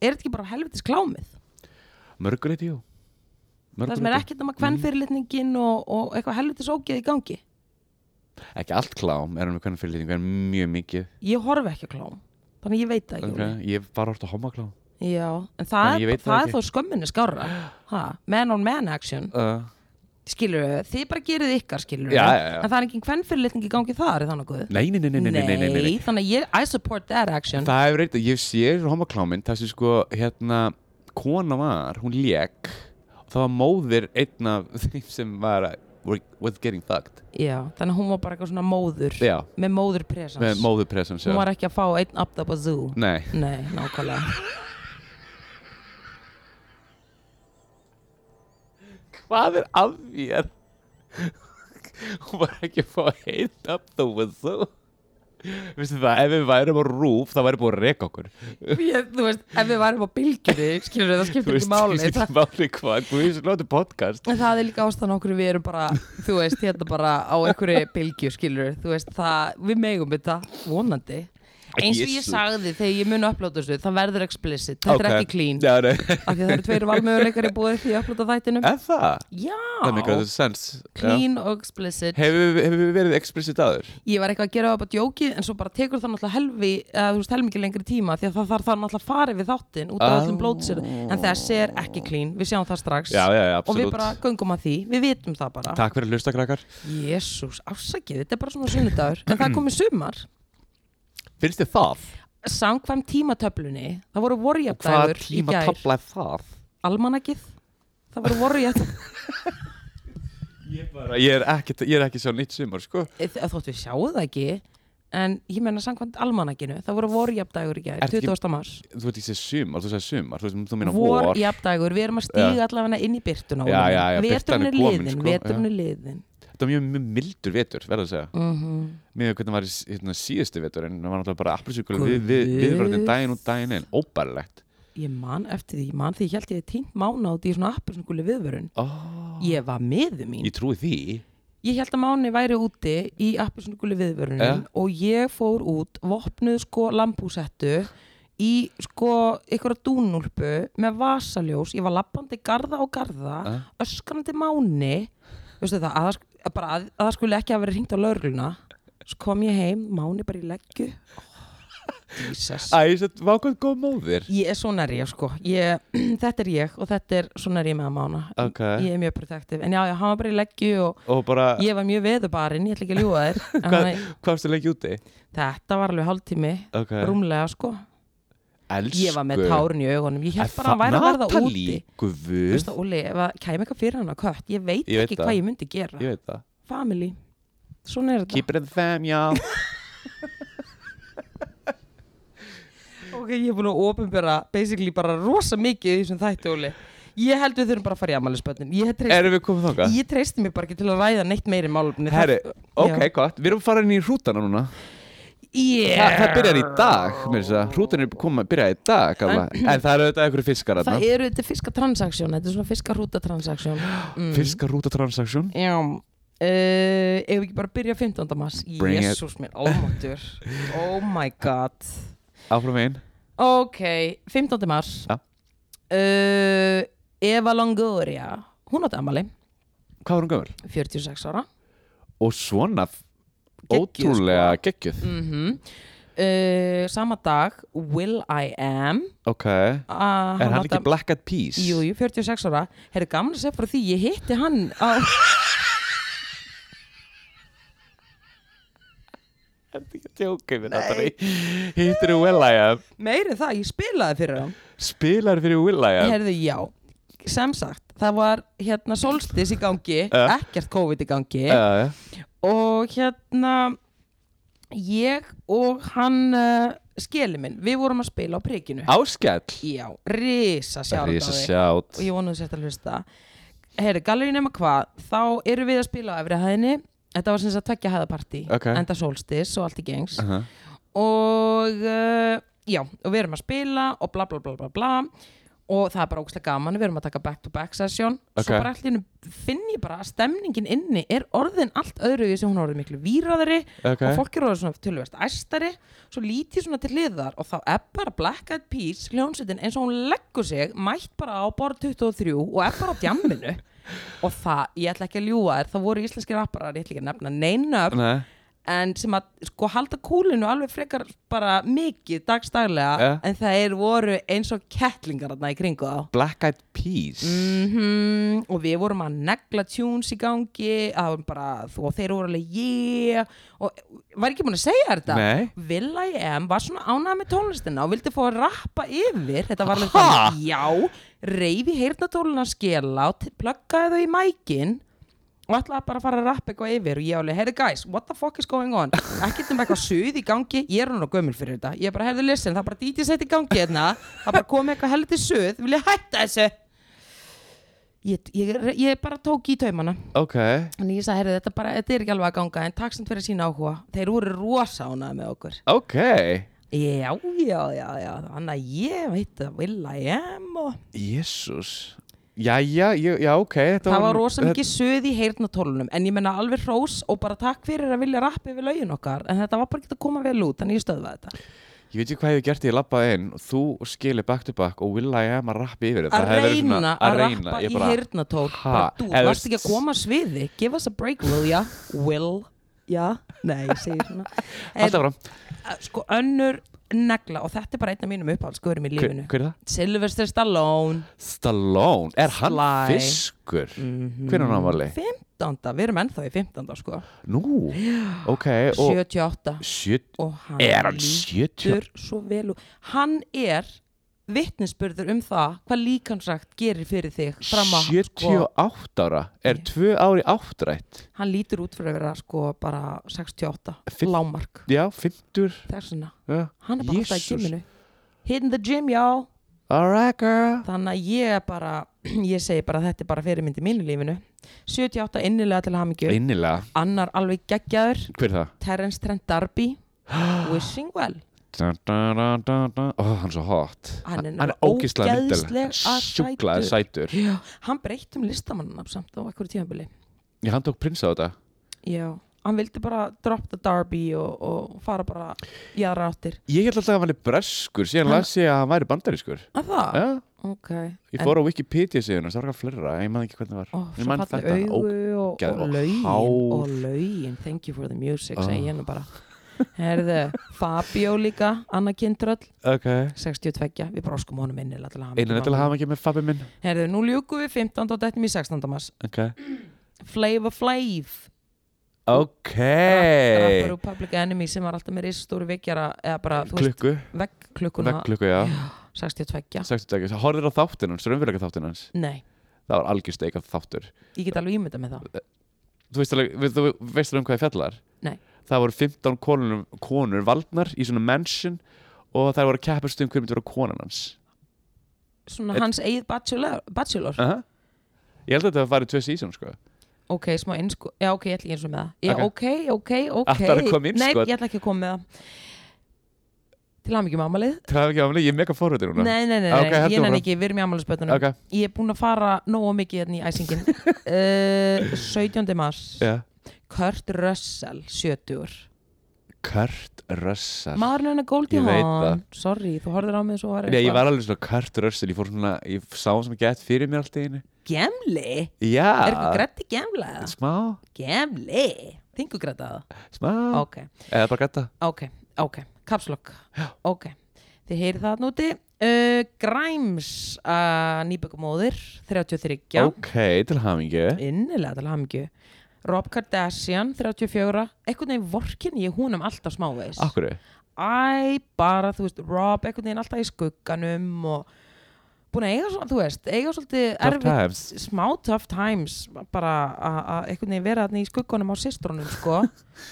Speaker 1: er þetta ekki bara helvitis klámið,
Speaker 2: Mörguleiti, jú.
Speaker 1: það sem er
Speaker 2: Mörguleiti.
Speaker 1: ekkert um að
Speaker 2: Mm.
Speaker 1: kvennfyrirlitningin og, og eitthvað helvitis ógeð í gangi
Speaker 2: ekki allt klám er hann með kvennfyrirlitningu en mjög mikið
Speaker 1: ég horfi ekki á klám, þannig að ég veit það ekki
Speaker 2: okay. ég hef bara orðið að homma klám
Speaker 1: Óli. já, en
Speaker 2: Þannig
Speaker 1: það,
Speaker 2: ég
Speaker 1: er,
Speaker 2: veit
Speaker 1: það,
Speaker 2: það
Speaker 1: er þó skömminni skárra ha, man on man action
Speaker 2: uh,
Speaker 1: skilur við, þið bara gerið ykkar skilur
Speaker 2: Já, já, já.
Speaker 1: en það er engin kvennfyrirlitning í gangi þar er það nokkuð
Speaker 2: nei, nei, nei, nei, nei, nei, nei, nei, nei.
Speaker 1: þannig að ég, I support that action
Speaker 2: það hefur reynd ég sé homma kláminn þessi sko hérna kona var hún lék og það var móðir einn af *laughs* þeim sem var að- were- was getting fucked
Speaker 1: já, þannig að hún var bara eitthvað svona móður
Speaker 2: já
Speaker 1: með móður presens
Speaker 2: með móður presence
Speaker 1: hún var ekki að fá einn up the bazoo
Speaker 2: nei
Speaker 1: nei,
Speaker 2: *laughs*
Speaker 1: nákvæmlega
Speaker 2: hvað er að þér hún var ekki að fá að heita up the whistle Vistu það, ef við værum á rúf, það væri búið að reka okkur.
Speaker 1: ég, þú veist, ef við varum á bylgjunni skilur við, það skiptir ekki máli
Speaker 2: það skiptir
Speaker 1: það,
Speaker 2: ekki máli hvað, þú veist, láttu podcast.
Speaker 1: en það er líka ástæðan okkur við erum bara þú veist, hérna bara á einhverju bylgju skilur við, þú veist, það, við megum þetta vonandi eins og ég
Speaker 2: Jesus.
Speaker 1: sagði þegar ég mun að upplóta þessu það verður explicit, þetta er
Speaker 2: Ok.
Speaker 1: ekki clean
Speaker 2: Já, nei.
Speaker 1: af
Speaker 2: *laughs*
Speaker 1: því að það eru tveir valmöguleikar í búið því að upplota þættinum
Speaker 2: Er það? Það er mikilvægt
Speaker 1: já,
Speaker 2: sens
Speaker 1: clean og explicit
Speaker 2: Hefur hefur við verið explicit aður?
Speaker 1: ég var eitthvað að gera það bara djóki en svo bara tekur það náttúrulega helvi eða þú veist helmingi lengri tíma því að það þarf það náttúrulega að fara við þáttinn út af
Speaker 2: Ah.
Speaker 1: öllum blótsir en þessi er ekki clean, við sjáum það strax
Speaker 2: Já, já, já,
Speaker 1: og við
Speaker 2: absolutt
Speaker 1: bara göngum að því, við vitum það bara
Speaker 2: Takk fyrir að hlusta krakkar
Speaker 1: Jésús, afsakið, þetta er bara svona sunnudagur en það er komið sumar
Speaker 2: Finnst þið það?
Speaker 1: samkvæm tímatöflunni, það voru
Speaker 2: Hvað
Speaker 1: vorjabdægur í
Speaker 2: tíma
Speaker 1: gær,
Speaker 2: tabla er það?
Speaker 1: almanakið það voru vorjabdægur
Speaker 2: Ég, bara, ég, er ekki, ég er ekki sjá nýtt sumar, sko
Speaker 1: Eh, þótt við sjáum það ekki en ég menna samkvæmt almanakinu það voru vorjafdægur í gær,
Speaker 2: Ertu ekki-
Speaker 1: 20. mars
Speaker 2: þú veit ég segi sumar, þú segir sumar þú, veist, þú meina vor,
Speaker 1: vorjafdægur, við erum að stíga allavega inn í byrtuna
Speaker 2: Já, já, já, birtan
Speaker 1: veturinn
Speaker 2: er
Speaker 1: er
Speaker 2: komin,
Speaker 1: liðin,
Speaker 2: sko,
Speaker 1: veturinn er liðin
Speaker 2: þetta var mjög, mjög mildur vetur verður að segja,
Speaker 1: mhm
Speaker 2: mér veit hvernig var í s- hérna, síðustu vetur en það var náttúrulega bara aprisíkulega
Speaker 1: Guð.
Speaker 2: við, við, viðbröndin daginn og daginn inn, óbærilegt
Speaker 1: Ég man eftir því, ég man því ég held ég hef týnt mána út í svona appinsunguli viðvörun.
Speaker 2: oh,
Speaker 1: Ég var miður mín.
Speaker 2: ég trúi því
Speaker 1: Ég held að máni væri úti í appinsunguli viðvörunum
Speaker 2: Ja.
Speaker 1: og ég fór út, vopnuð sko lampúsettu í sko einhverja dúnúlpu með vasaljós. Ég var lappandi garða og garða,
Speaker 2: Ja.
Speaker 1: öskrandi máni. Veistu það, að, það sk- bara, að, að það skuli ekki að vera hringt á laurugluna. Svo kom ég heim, máni bara í
Speaker 2: *laughs*
Speaker 1: leggju. Oh, Jesus.
Speaker 2: Æ, þetta var hvað góð móðir
Speaker 1: Ég er svona er ég sko ég, *clears throat* Þetta er ég og þetta er svona er ég með að mána
Speaker 2: Ok.
Speaker 1: Ég er mjög protektiv En já, já, hann var bara í leggju og
Speaker 2: og bara,
Speaker 1: ég var mjög veðubarinn Ég ætla ekki að ljúga
Speaker 2: *laughs*
Speaker 1: þér en
Speaker 2: hvað,
Speaker 1: hann-
Speaker 2: hvað varstu lengi úti?
Speaker 1: Þetta var alveg hálftími
Speaker 2: Ok.
Speaker 1: Rúmlega sko
Speaker 2: Elsku
Speaker 1: Ég var með tárin í augunum Ég held bara að hann væri að verða úti Þú
Speaker 2: Guð,
Speaker 1: veist að Óli, ef það kæmi eitthvað fyrir hann að kött Ég veit,
Speaker 2: Ég veit
Speaker 1: ekki
Speaker 2: það.
Speaker 1: hvað ég myndi gera
Speaker 2: ég veit það
Speaker 1: Family Svona er þetta
Speaker 2: Keep it in the fam,
Speaker 1: *laughs*
Speaker 2: já
Speaker 1: Ok, ég er búin að ofinbera Basically bara rosa mikið í þessum þætti Óli Ég held við þurfum bara að fara í amælisbönnin Ég treysti
Speaker 2: Erum við komið þangað?
Speaker 1: Ég treysti mér bara ekki til að ræða neitt meiri málumni
Speaker 2: Herri, ok, gott, við erum farin í hrútana núna
Speaker 1: yeah.
Speaker 2: Þa, Það byrjar í dag, mér þess að hrútan er koma, byrjar í dag alla. En það eru auðvitað einhverju fiskar
Speaker 1: Það
Speaker 2: þarna
Speaker 1: eru þetta fiskatransaksjón, þetta er svona fiskarútatransaksjón
Speaker 2: *gasps*
Speaker 1: mm.
Speaker 2: Fiskarútatransaksjón
Speaker 1: Já uh, Ef við ekki bara byrja 15. mars
Speaker 2: Bring it.
Speaker 1: Jésús minn, ómáttur Oh my god
Speaker 2: Áfram einn
Speaker 1: Ok, 15. mars
Speaker 2: Ja.
Speaker 1: uh, Eva Longoria Hún átti amali,
Speaker 2: Hvað var hún gömul?
Speaker 1: 46 ára
Speaker 2: Og svona f-
Speaker 1: Geggjuð, sko.
Speaker 2: ótrúlega geggjuð
Speaker 1: mm uh, Sama dag Will I Am
Speaker 2: Ok, er
Speaker 1: uh,
Speaker 2: hann ekki Black Eyed Peas?
Speaker 1: Jú, jú, 46 ára Herri, gaman að segja frá því, ég hitti hann á
Speaker 2: Ertu ekki að tjóka við þetta? Hittir þú Will.i.am?
Speaker 1: Meiri það, ég spilaði fyrir hann
Speaker 2: Spilar fyrir Will.i.am?
Speaker 1: Herðu, já, sem sagt Það var hérna solstis í gangi
Speaker 2: Ja.
Speaker 1: Ekkert COVID í gangi
Speaker 2: Uh,
Speaker 1: Og hérna Ég og hann uh, Skeli minn, við vorum að spila á prikinu
Speaker 2: áskell
Speaker 1: Já, risa sjátt á
Speaker 2: Rísa
Speaker 1: þig
Speaker 2: sjátt
Speaker 1: Og ég vonaði sér að hlusta Herðu, gallerí nema hvað Þá eru við að spila á efri hæðinni Þetta var sem sagt tveggja hæðapartí
Speaker 2: Ok.
Speaker 1: Enda solstis og allt í gengs
Speaker 2: uh -huh.
Speaker 1: og uh, já, og við erum að spila og bla bla bla bla bla og það er bara ógæslega gaman, við erum að taka back to back session
Speaker 2: Ok.
Speaker 1: svo bara allir finn ég bara að stemningin inni er orðin allt öðru því sem hún er orðin miklu víraðari
Speaker 2: Ok.
Speaker 1: og fólk er orðin svona tölvert æstari svo lítið svona til hliðar og þá er bara Black Eyed Peas hljónsutin eins og hún leggur sig mætt bara á borð 23 og er bara á
Speaker 2: *laughs*
Speaker 1: djamminu og það, ég ætla ekki að ljúga þér það voru íslenski rapparar, ég ætla ekki að nefna neina
Speaker 2: Nei,
Speaker 1: en sem að sko halda kúlinu alveg frekar bara mikið dagstaglega
Speaker 2: Ja.
Speaker 1: en það er voru eins og kettlingar þarna í kringu þá
Speaker 2: Black Eyed Peas
Speaker 1: mm og við vorum að negla tunes í gangi það var bara þú og þeir voru alveg yeah og var ekki búin að segja þetta
Speaker 2: Nei.
Speaker 1: Will.i.am var svona ánægð með tónlistina og vildi fá að rappa yfir þetta var alveg
Speaker 2: Ha?
Speaker 1: þannig, já reyfi heyrnatóluna að skela og t- pluggaði þau í mækin og ætlaði bara að fara að rappa eitthvað yfir og ég alveg, heyrðu guys, what the fuck is going on ekkert um eitthvað suð í gangi, ég er núna gömul fyrir þetta ég bara, heyrðu listen, það er bara DJ set í gangi hérna, það er bara komið eitthvað heldur suð vil ég hætta þessu ég, ég, ég bara tók í taumana
Speaker 2: Ok,
Speaker 1: Þannig ég sagði, heyrðu, þetta, bara, þetta er ekki alveg að ganga en takk samt fyrir sína áhuga, þeir voru rosa ánað með okkur
Speaker 2: ok
Speaker 1: Já, já, já, já Þannig að ég veit að vil að ég am og
Speaker 2: Jésús Jæja, já, já, ok þetta
Speaker 1: það var rosa mikið söð í heyrnatólunum en ég menna alveg hrós og bara takk fyrir að vilja rappi við lögin okkar en þetta var bara ekki að koma vel út þannig ég stöðvaði þetta
Speaker 2: þetta- Ég veit ekki hvað ég hef gert því ég labbaði inn og þú skilið back to back og Will.i.am að rappa yfir þetta
Speaker 1: að
Speaker 2: Það hefði verið
Speaker 1: reyna
Speaker 2: svona-
Speaker 1: að rappa
Speaker 2: Ég
Speaker 1: í heyrnatól
Speaker 2: Ha,
Speaker 1: bara þú,
Speaker 2: ef-
Speaker 1: varst ekki að koma að sviði give us a break, will ya? Will ya? Nei, ég segi svona
Speaker 2: *laughs* Alltaf
Speaker 1: En,
Speaker 2: fram,
Speaker 1: sko önnur negla og þetta er bara einn af mínum uppáhaldsgörum í
Speaker 2: hver,
Speaker 1: lífinu
Speaker 2: hver er það?
Speaker 1: Sylvester Stallone
Speaker 2: Stallone, er hann
Speaker 1: Sly. Mhm.
Speaker 2: fiskur? Hver er hann ámali?
Speaker 1: 15. við erum ennþá í 15. sko
Speaker 2: Nú, ok Eh, og
Speaker 1: 78
Speaker 2: Sjö,
Speaker 1: og hann
Speaker 2: er hann
Speaker 1: lítur
Speaker 2: 70?
Speaker 1: svo vel út hann er vittnisspurður um það hvað líkansrækt gerir fyrir þig fram að sko,
Speaker 2: 78 ára er 2 ári áttrætt
Speaker 1: hann lítur út fyrir að vera sko bara 68
Speaker 2: Fimm-
Speaker 1: lámark
Speaker 2: já, 50
Speaker 1: þess vegna,
Speaker 2: yeah.
Speaker 1: hann er bara alltaf í
Speaker 2: Jesus.
Speaker 1: gyminu hitting the gym y'all
Speaker 2: alright girl
Speaker 1: þannig að ég er bara *clears throat* ég segi bara að þetta er bara fyrirmynd í mínu lífinu 78 innilega til hamingju
Speaker 2: innilega,
Speaker 1: annar alveg geggjaður
Speaker 2: hver er það?
Speaker 1: Terence Trent D'Arby Wishing Well
Speaker 2: Da, da, da, da, da. Ó, hann er svo hot
Speaker 1: Hann er nefnilega
Speaker 2: ógeðslega
Speaker 1: ógeðslega
Speaker 2: myndilega
Speaker 1: að
Speaker 2: sjúklaði sætur
Speaker 1: Já, hann breytt um listamannanab samt á ekkur tímabili
Speaker 2: já, hann tók prins á þetta
Speaker 1: Já, hann vildi bara drop the Darby og, og fara bara í aðra áttir
Speaker 2: ég held alltaf að hann væri breskur síðan
Speaker 1: Hann-
Speaker 2: las ég að hann væri bandarískur
Speaker 1: að það,
Speaker 2: já,
Speaker 1: ok
Speaker 2: ég fór á Wikipedia síðan og það var eitthvað flera, ég man ekki hvernig það var
Speaker 1: Ó,
Speaker 2: ég
Speaker 1: svo
Speaker 2: man
Speaker 1: falli
Speaker 2: þetta, ó,
Speaker 1: augu og,
Speaker 2: ógeð-
Speaker 1: og
Speaker 2: og
Speaker 1: lögin
Speaker 2: hár.
Speaker 1: og lögin, thank you for the music
Speaker 2: Ah.
Speaker 1: segi ég nú bara Herðu, Fabio líka, Anna Kindröll
Speaker 2: ok
Speaker 1: 62, við broskum honum innilega til að hafa
Speaker 2: einan til að hafa ekki með fabbi minn
Speaker 1: Herðu, nú ljúkum við 15. og dættum í 16. mars
Speaker 2: ok,
Speaker 1: Flava Flav
Speaker 2: okay.
Speaker 1: Rappar úr Public Enemy sem var alltaf með risastóru veikjara eða bara, þú veist,
Speaker 2: klukku,
Speaker 1: veggklukkuna
Speaker 2: veggklukku, já
Speaker 1: 62
Speaker 2: 62, horfður á þáttinn hans, raunveruleika þáttinn hans
Speaker 1: Nei,
Speaker 2: það var algjör steik af þáttur
Speaker 1: ég get alveg ímynda með það
Speaker 2: þú veist alveg, við- þú veist alveg um hvað ég fjallar
Speaker 1: Nei.
Speaker 2: það voru 15 konur, konur valdnar í svona mansion og það voru að keppast um hver myndi vera konan hans
Speaker 1: Svona
Speaker 2: Et-
Speaker 1: hans eigið bachelor, bachelor.
Speaker 2: uh ég held að þetta var farið tvö season sko.
Speaker 1: Ok, smá innsko Já, ok, ég ætla ekki eins og með það Já, ok, ok, ok
Speaker 2: Ætlarðu að koma með
Speaker 1: Nei,
Speaker 2: innskot?
Speaker 1: ég ætla ekki að koma með það Til hann ekki með amalið
Speaker 2: það er ekki ámlega, ég er mega forhundin núna
Speaker 1: Nei, nei, nei, nei,
Speaker 2: Ok, heldur
Speaker 1: ég nenni
Speaker 2: áfram.
Speaker 1: ekki, við erum í amaliðspötunum
Speaker 2: ok,
Speaker 1: Ég er búin að fara nógu mikið hérna í
Speaker 2: *laughs*
Speaker 1: æsingin uh, 17. mars
Speaker 2: já
Speaker 1: Kurt Russell, 70
Speaker 2: Kurt Russell
Speaker 1: Maðurinn hennar Goldie
Speaker 2: Ah. Ég veit
Speaker 1: Hawn Sorry, þú horfður á mig svo var
Speaker 2: Nei, ég var alveg svona Kurt Russell, ég fór svona, ég sá hann sem gett fyrir mér allt í einu.
Speaker 1: Gemli? Er eitthvað
Speaker 2: Já,
Speaker 1: grætti gemla? eða?
Speaker 2: smá,
Speaker 1: Gemli? Þingu grætta það?
Speaker 2: smá,
Speaker 1: Ok,
Speaker 2: eða bara gæta.
Speaker 1: ok, ok Kapslokk, ok Þið heyrið það þarna úti uh, Grimes, uh, nýbökumóðir 33,
Speaker 2: Ok, til hamingju.
Speaker 1: innilega til hamingju Rob Kardashian, 34 einhvern veginn vorkinni ég húnum alltaf smávegis
Speaker 2: Akkur,
Speaker 1: Æ, bara, þú veist, Rob einhvern veginn alltaf í skugganum og búin að eiga svona, þú veist, eiga svolítið
Speaker 2: tough
Speaker 1: erfitt
Speaker 2: times.
Speaker 1: smá tough times bara að- að einhvern veginn vera þarna í skuggunum á sýstrunum
Speaker 2: *laughs*
Speaker 1: sko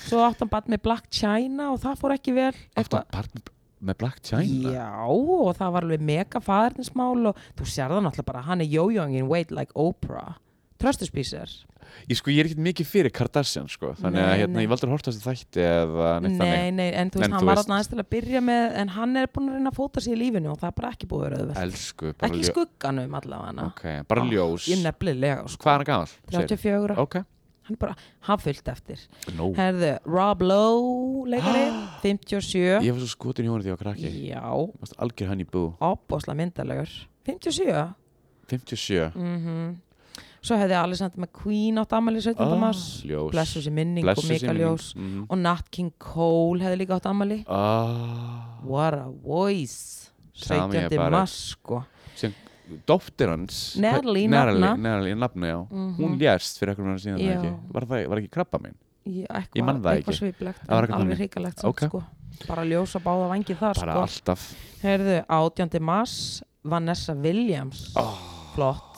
Speaker 1: svo átt hann bara með Black China og það fór ekki vel
Speaker 2: Eftir að part með Black China.
Speaker 1: já og það var alveg mega faðernismál og þú sér það náttúrulega bara hann er jójóngin wait like Oprah tröstuspísir
Speaker 2: Ég sko, ég er ekkert mikið fyrir Kardashian, sko. Þannig
Speaker 1: Nei,
Speaker 2: að hérna,
Speaker 1: nei.
Speaker 2: ég valdur að horta þessi þætti eða neitt
Speaker 1: nei,
Speaker 2: þannig.
Speaker 1: nei, en þú veist,
Speaker 2: En þú
Speaker 1: hann var
Speaker 2: veist-
Speaker 1: þarna aðeins til að byrja með en hann er búin að reyna að fóta sig í lífinu og það er bara ekki búið að vera auðvelt
Speaker 2: Elsku, bara
Speaker 1: ekki í
Speaker 2: ljós.
Speaker 1: skugganum allavega
Speaker 2: Ok, bara
Speaker 1: Ah,
Speaker 2: ljós.
Speaker 1: ég nefnilega sko,
Speaker 2: Hvað er hann gammal?
Speaker 1: 34,
Speaker 2: Ok,
Speaker 1: hann er bara hann fyllt eftir
Speaker 2: no.
Speaker 1: Herðu, Rob Lowe
Speaker 2: *gasps*
Speaker 1: leikari, 57
Speaker 2: Ég var svo skotin í honum því ég var krakki.
Speaker 1: Já,
Speaker 2: Mást algjör hann í bú.
Speaker 1: opbósla myndalegur 57
Speaker 2: 57.
Speaker 1: mm Svo hefði Alexander McQueen átt afmæli 17.
Speaker 2: Ah.
Speaker 1: Oh. mars
Speaker 2: ljós.
Speaker 1: Blessu sér minning og
Speaker 2: Blessuð sé
Speaker 1: Mika
Speaker 2: minning.
Speaker 1: Ljós
Speaker 2: Mhm.
Speaker 1: Og Nat King Cole hefði líka átt afmæli
Speaker 2: Ah,
Speaker 1: What a voice
Speaker 2: Tell me
Speaker 1: 17.
Speaker 2: about it.
Speaker 1: mars sko
Speaker 2: sem dóttir hans
Speaker 1: Natalie, nafna.
Speaker 2: Nerli, nafna, já
Speaker 1: Mhm.
Speaker 2: hún lést fyrir einhvern veginn síðan
Speaker 1: Já.
Speaker 2: já. ekki var, það, var ekki krabba mín
Speaker 1: Ég, eitthva,
Speaker 2: Ég man það
Speaker 1: Eitthvað
Speaker 2: ekki.
Speaker 1: sviplegt,
Speaker 2: Það var eitthvað
Speaker 1: alveg
Speaker 2: þannig.
Speaker 1: hrikalegt samt,
Speaker 2: Ok.
Speaker 1: sko Bara ljósa báða vangi þar
Speaker 2: bara
Speaker 1: sko
Speaker 2: alltaf
Speaker 1: Herðu, 18. mars Vanessa Williams
Speaker 2: Ah.
Speaker 1: Flott,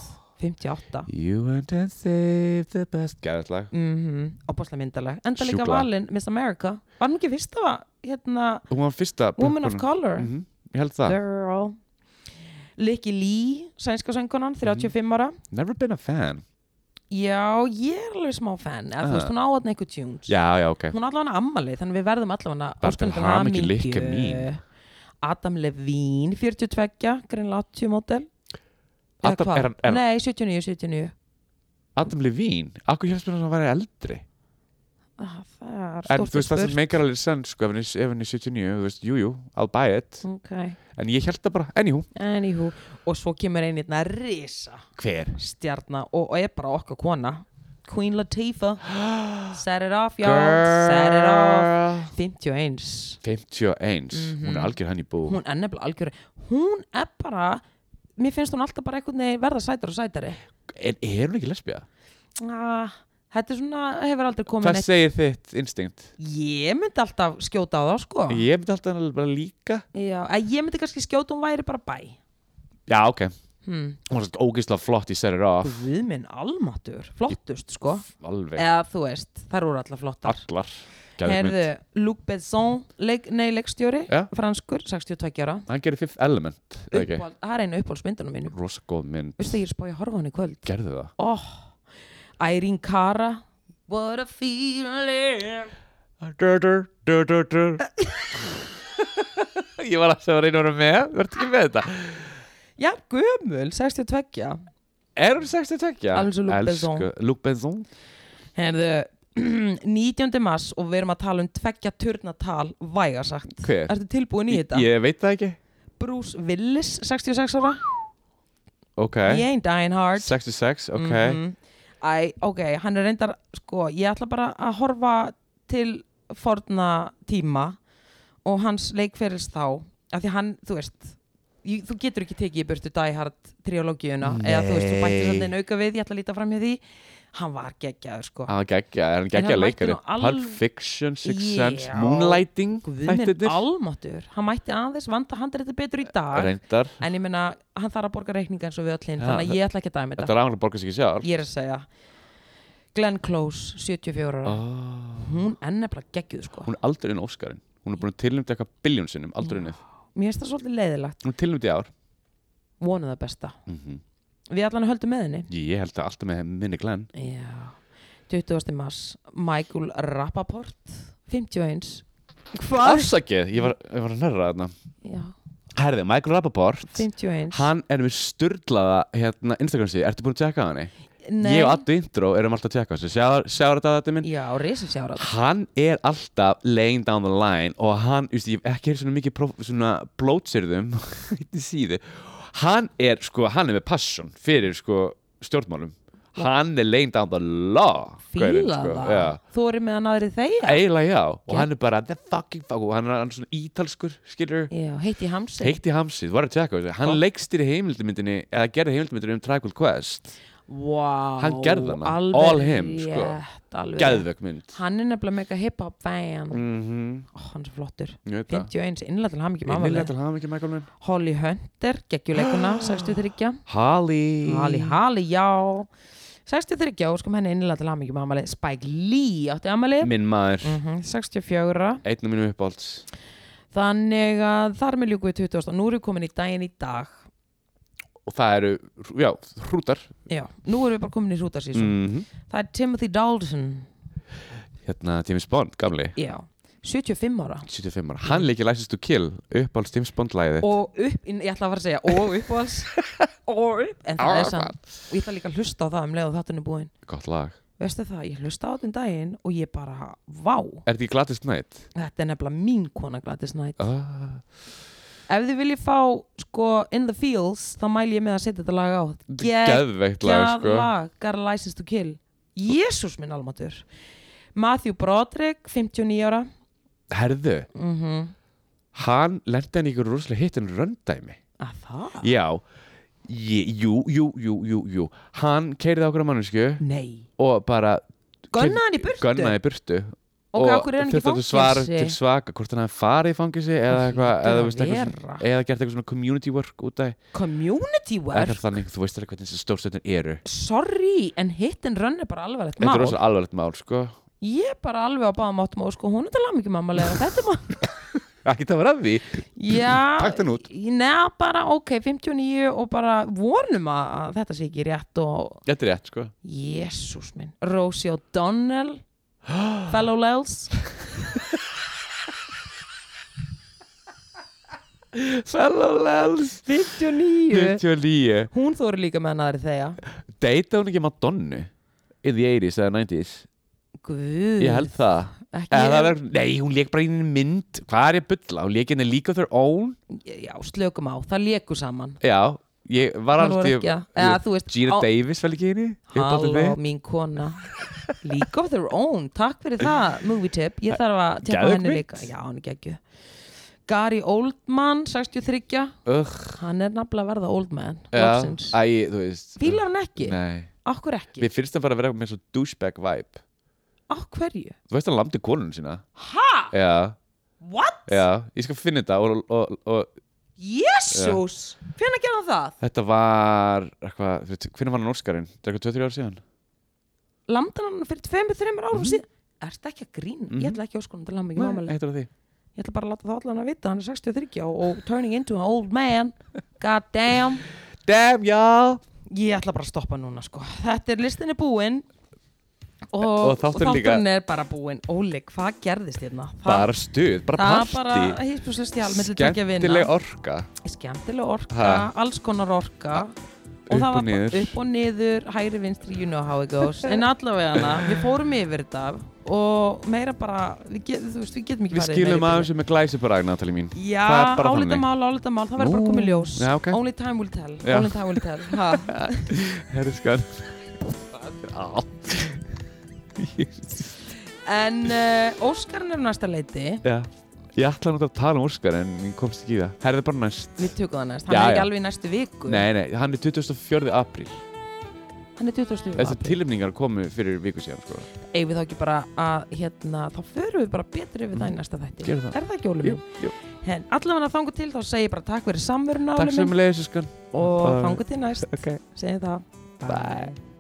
Speaker 1: 58
Speaker 2: you went and saved the best gæðslag
Speaker 1: Mhm, opaslega myndaleg enda líka
Speaker 2: Sjúklega.
Speaker 1: valin Miss America var hún ekki fyrst að hérna
Speaker 2: hún var fyrsta
Speaker 1: Woman of
Speaker 2: pökkunum.
Speaker 1: Color
Speaker 2: Mhm, ég held það
Speaker 1: Girl Licky Lee, sænska
Speaker 2: Mhm.
Speaker 1: söngunan 35 ára
Speaker 2: never been a fan
Speaker 1: já, ég er alveg smá fan eða þú
Speaker 2: Ah.
Speaker 1: veist, hún á hann eitthvað tunes
Speaker 2: já já ok
Speaker 1: hún er allavega ammali, þannig við verðum allavega
Speaker 2: Bara til
Speaker 1: óskandi
Speaker 2: hamingju,
Speaker 1: hamingju.
Speaker 2: Licky mín.
Speaker 1: Adam Levine, 42 greinlega 80 mótel Eða
Speaker 2: Adam-
Speaker 1: hvað?
Speaker 2: er hann- er hann-
Speaker 1: nei, 79, 79
Speaker 2: Adam Levine akkur hérst mér að hann væri eldri
Speaker 1: ah, það er
Speaker 2: en þú
Speaker 1: stórt
Speaker 2: veist það sem
Speaker 1: spurt
Speaker 2: meikar alveg sens sko ef hann er- ef hann er 79 þú veist jú jú I'll buy it
Speaker 1: ok,
Speaker 2: en ég held það bara anywho
Speaker 1: anywho og svo kemur einirna risa
Speaker 2: hver
Speaker 1: stjarna og, og er bara okkar kona Queen Latifah
Speaker 2: *gasps*
Speaker 1: set it off y'all, set it off
Speaker 2: girl
Speaker 1: 51
Speaker 2: 51 hún er algjör hann í bú
Speaker 1: hún er nefnilega algjör hún er bara mér finnst hún alltaf bara einhvern veginn verða sætari og sætari
Speaker 2: En er hún ekki lesbíða?
Speaker 1: ah, þetta er svona, hefur aldrei komið
Speaker 2: Hvað
Speaker 1: neitt
Speaker 2: segir þitt instinkt?
Speaker 1: ég myndi alltaf skjóta á það sko
Speaker 2: Ég myndi alltaf bara líka
Speaker 1: Já, að ég myndi kannski skjóta hún væri bara bæ
Speaker 2: já, ok
Speaker 1: hmm.
Speaker 2: hún var svo ógeðslega flott í Set It Off
Speaker 1: Guð minn almatur, flottust sko
Speaker 2: alveg,
Speaker 1: eða þú veist, þar voru allar flottar
Speaker 2: allar Geðveik mynd.
Speaker 1: Herðu, Luc Besson leik, nei, leikstjóri,
Speaker 2: Já.
Speaker 1: franskur 62 ára,
Speaker 2: hann gerir Fifth Element okay.
Speaker 1: Uppáhald- það er einu uppáhaldsmyndunum mínum
Speaker 2: rosa góð mynd,
Speaker 1: veistu ég er spáði að horfa á hann í kvöld
Speaker 2: gerðu það
Speaker 1: oh. Irene Cara What a feeling
Speaker 2: Dur, dur, dur, dur, dur. Ég var alltaf að reyna að vera með Vertu ekki með þetta
Speaker 1: Já, gömul, 62
Speaker 2: Er hún 62?
Speaker 1: Alveg svo Luc Besson.
Speaker 2: Luc Besson
Speaker 1: Herðu, *clears throat* 19. mars og við erum að tala um tveggja turnatal vægasagt
Speaker 2: Hver?
Speaker 1: Ertu tilbúin í þetta?
Speaker 2: Ég veit það ekki
Speaker 1: Bruce Willis, 66 ára
Speaker 2: Ok
Speaker 1: Ég ain't dying hard
Speaker 2: 66, ok
Speaker 1: Mhm. Æ, ok, hann er reyndar sko, ég ætla bara að horfa til forna tíma og hans leikferils þá af því hann, þú veist ég, þú getur ekki tekið í burtu Die Hard triológiuna, eða þú veist, þú bættir
Speaker 2: Nei.
Speaker 1: sann en auka við, ég ætla að líta fram hjá því hann var geggjaður sko
Speaker 2: Hann er Ah, geggja, er hann
Speaker 1: En
Speaker 2: geggja
Speaker 1: hann mætti
Speaker 2: leikari
Speaker 1: nú alv-
Speaker 2: Pulp Fiction, Sixth
Speaker 1: Já.
Speaker 2: Sense, Moonlighting
Speaker 1: Guðminn
Speaker 2: þættirnir.
Speaker 1: almatur, hann mætti aðeins vanda handreiti betur í dag
Speaker 2: Reyndar
Speaker 1: en ég meina, hann þarf að borga reikninga eins og við öllin,
Speaker 2: Já,
Speaker 1: þannig að ég ætla ekki að dæmi
Speaker 2: Þetta
Speaker 1: þetta
Speaker 2: er áhengilega borgar sig ekki sjálf
Speaker 1: ég er að segja Glenn Close, 74 ára
Speaker 2: oh.
Speaker 1: hún er nefnilega geggjuð sko
Speaker 2: Hún er aldrei inn Óskarinn Hún er búin að tilnæmta eitthvað biljón sinnum, aldrei unnið.
Speaker 1: mér finnst það svolítið leiðilegt,
Speaker 2: Hún er tilnæmta í ár.
Speaker 1: vonu það besta
Speaker 2: Mm
Speaker 1: við allan höldum með henni
Speaker 2: Ég held að alltaf með minni glenn.
Speaker 1: Já. 20. mars, Michael Rappaport 51 hvað?
Speaker 2: Afsakið, ég var, ég var að nærra þarna.
Speaker 1: Já,
Speaker 2: Herði, Michael Rappaport,
Speaker 1: 51
Speaker 2: hann er með sturdlaða hérna, Instagram síði. Ertu búin að tjekka á henni?
Speaker 1: Nei.
Speaker 2: Ég og Addi Intro erum alltaf að tjekka á þessu. Sjáur þetta að þetta minn?
Speaker 1: já, risa sjára
Speaker 2: Hann er alltaf laying down the line og hann, þú veist, ég hef ekki hefði svona mikið próf, svona blótsirðum *laughs* í síðu. Hann er, sko, hann er með passion fyrir, sko, stjórnmálum. Hann er laying down the law. gaurinn,
Speaker 1: fíla
Speaker 2: sko,
Speaker 1: það,
Speaker 2: Já.
Speaker 1: þú eru með hann aðrið þeir
Speaker 2: eiginlega já og
Speaker 1: Gegn-
Speaker 2: hann er bara the fucking fuck og hann er, hann er svona ítalskur skilur
Speaker 1: já, heiti Hamsi
Speaker 2: heitt í hamsið, þú var að tjekka á þessu. hann
Speaker 1: Gott.
Speaker 2: leikstir í heimildumyndinni eða gerði heimildumyndinni um Tribal Quest
Speaker 1: wow,
Speaker 2: Hann gerði hana.
Speaker 1: alveg
Speaker 2: All him, sko.
Speaker 1: rétt, alveg rétt.
Speaker 2: gæðvögg mynd
Speaker 1: hann er nefnilega mega hip-hop fan
Speaker 2: mm -hmm.
Speaker 1: Ó, hann er svo flottur
Speaker 2: ég veit það
Speaker 1: 51, innlega til hann ekki
Speaker 2: Innilega
Speaker 1: mamma
Speaker 2: til hafa mikið um Michael minn
Speaker 1: Holly Hunter, geggjuleikuna 63
Speaker 2: Hali
Speaker 1: Hali, hali, já 63, og sko henni innilega til hamingjum amali Spike Lee átti amali
Speaker 2: minn maður
Speaker 1: mm 64
Speaker 2: einn af mínum uppáhalds
Speaker 1: þannig að þar með ljúku við 20 og nú erum við komin í daginn í dag
Speaker 2: og það eru, já, hrútar
Speaker 1: já, nú erum við bara komin í rútarsísum
Speaker 2: mm -hmm.
Speaker 1: það er Timothy Dalton
Speaker 2: hérna James Bond, gamli
Speaker 1: já, 75 ára
Speaker 2: 75 ára, hann leikir License to Kill uppáhalds James Bond læðið
Speaker 1: og upp, ég ætla að fara að segja og uppáhalds og upp, en það er sann og ég ætla líka að hlusta á það um leið og þáttunni búin
Speaker 2: gott lag,
Speaker 1: veistu það, ég hlusta á þetta um daginn og ég bara, vá,
Speaker 2: er þetta ekki Gladys Knight?
Speaker 1: þetta er nefnilega mín kona Gladys Knight
Speaker 2: Ah.
Speaker 1: Ef þið viljið fá sko In the Fields þá mæli ég með að setja þetta lag á
Speaker 2: geðveikt lag sko.
Speaker 1: lag Got a license to kill Jésús minn almatur Matthew Broderick, 59 ára
Speaker 2: herðu,
Speaker 1: mm
Speaker 2: hann lendi hann í ykkur rosalega hittin röndæmi
Speaker 1: Að það?
Speaker 2: já, ég, jú, jú, jú, jú, jú hann keiriði okkur að mannesku
Speaker 1: Nei
Speaker 2: og bara
Speaker 1: Gunnaði hann í burtu?
Speaker 2: gunnaði í burtu
Speaker 1: Og af hverju er hann ekki í
Speaker 2: þurfti að svara
Speaker 1: fangelsi?
Speaker 2: til svaka hvort hann hafi farið í fangilsi eða,
Speaker 1: Það
Speaker 2: eitthvað,
Speaker 1: hlýtur
Speaker 2: eða,
Speaker 1: að
Speaker 2: þú veist, eitthvað svona,
Speaker 1: vera.
Speaker 2: eða gert eitthvað svona community work út af
Speaker 1: Community work
Speaker 2: eitthvað þannig, þú veist alveg hvernig þessi stórstöndin eru
Speaker 1: Sorry, en hit and run er bara alvarlegt
Speaker 2: þetta
Speaker 1: mál
Speaker 2: er rosalega alvarlegt mál sko
Speaker 1: Ég er bara alveg á báðum áttum og sko hún er þetta lag mikið mamma leið Þetta er maður
Speaker 2: ekki það var að því
Speaker 1: Já,
Speaker 2: Taktu hann út.
Speaker 1: Neða bara, ok, 59 og bara vonum að að þetta sé ekki rétt og
Speaker 2: þetta er rétt sko
Speaker 1: Jésús minn Rosie
Speaker 2: *gasps*
Speaker 1: O'Donnell Fellow Lels
Speaker 2: Sallalels
Speaker 1: 59
Speaker 2: 99
Speaker 1: Hún þóri líka með hann aðri þegar
Speaker 2: Deita hún ekki Madonna in the 80s eða 90s
Speaker 1: Guð
Speaker 2: Ég held það
Speaker 1: ekki,
Speaker 2: Eða það var, Nei, hún leik bara í einu mynd Hvað er ég að bulla? Hún leik henni League of Their Own
Speaker 1: Já, slökum á, það léku saman
Speaker 2: Já, ég var
Speaker 1: Hún var
Speaker 2: alltaf
Speaker 1: ekki að- eða, þú veist,
Speaker 2: Gina
Speaker 1: á-
Speaker 2: Davis vel ekki henni
Speaker 1: Halló, mín kona League of their own, takk fyrir það Movie tip, ég þarf að tjekka á
Speaker 2: Geðveik
Speaker 1: henni
Speaker 2: mynd.
Speaker 1: líka Já, hann er geggju Gary Oldman, 63
Speaker 2: Ögh,
Speaker 1: Hann er nafnilega að verða Oldman
Speaker 2: já,
Speaker 1: loksins.
Speaker 2: æ, þú veist
Speaker 1: Fílar hann ekki?
Speaker 2: Nei,
Speaker 1: Akkur ekki?
Speaker 2: mér finnst það bara að vera með svo douchebag vibe
Speaker 1: Á hverju?
Speaker 2: Þú veist hann lamdi konun sína
Speaker 1: Ha?
Speaker 2: Já,
Speaker 1: What?
Speaker 2: já, ég skal finna þetta og, og, og, og
Speaker 1: Jésús, hvernig gerði hann það?
Speaker 2: Þetta var eitthvað, þú veit, hvernig var hann Óskarinn? Þetta er eitthvað 2-3 ár síðan
Speaker 1: Landa hann fyrir tveimur, þreimur árum
Speaker 2: Mhm.
Speaker 1: síðan Ertu ekki að grína? Ég ætla ekki óskonum til hann mikið mámali
Speaker 2: Eittur af því
Speaker 1: Ég ætla bara að láta það allan að vita, hann er 63 og, og turning into an old man God damn
Speaker 2: Damn y'all
Speaker 1: Ég ætla bara að stoppa núna sko Þetta er listin er búinn og,
Speaker 2: Og þátturinn líka.
Speaker 1: er bara búinn Óli, hvað gerðist hérna? Það-
Speaker 2: Bara stuð, bara
Speaker 1: Það bara
Speaker 2: party
Speaker 1: hýspjúslega stjál millir tvekja vinna
Speaker 2: Skemmtileg orka
Speaker 1: Skemmtileg orka,
Speaker 2: Ha.
Speaker 1: alls konar orka
Speaker 2: upp
Speaker 1: það
Speaker 2: og
Speaker 1: var bara
Speaker 2: niður.
Speaker 1: upp og niður, hægri vinstri, you know how it goes En allavega hana, við fórum yfir þetta og meira bara, við, get, þú veist, við getum ekki
Speaker 2: Við
Speaker 1: farið meira
Speaker 2: skilum
Speaker 1: í
Speaker 2: aðeins með glæsiparag, Natalie mín
Speaker 1: bili.
Speaker 2: það er
Speaker 1: Já,
Speaker 2: bara þannig.
Speaker 1: álitamál, álitamál, það verður bara
Speaker 2: Nú.
Speaker 1: komið ljós
Speaker 2: Já, ok.
Speaker 1: Only time will tell,
Speaker 2: Já.
Speaker 1: only time will tell ha.
Speaker 2: Herri sko. skan Það er allt
Speaker 1: En uh, Óskarinn er á næsta leiti
Speaker 2: Já Ég ætlaði nút að tala um Óskar en ég komst ekki í það Herri það er bara næst
Speaker 1: Við tökum það næst, hann
Speaker 2: Já,
Speaker 1: er ekki
Speaker 2: já.
Speaker 1: alveg í næstu viku
Speaker 2: Nei, nei, hann er 24. apríl
Speaker 1: Hann er 24.
Speaker 2: Þessar
Speaker 1: apríl.
Speaker 2: tilnefningar komu fyrir viku síðan sko.
Speaker 1: eigum við þá ekki bara að hérna, þá förum við bara betur yfir það í næsta þætti
Speaker 2: Gerum það.
Speaker 1: er það ekki Óli
Speaker 2: Jú,
Speaker 1: minn?
Speaker 2: jú.
Speaker 1: En allavega þangu til þá segi ég bara takk fyrir samveruna
Speaker 2: Takk
Speaker 1: Óli
Speaker 2: sem
Speaker 1: minn
Speaker 2: leiðis, skan
Speaker 1: og
Speaker 2: Bye.
Speaker 1: þangu til næst
Speaker 2: okay.
Speaker 1: segi það
Speaker 2: Bye.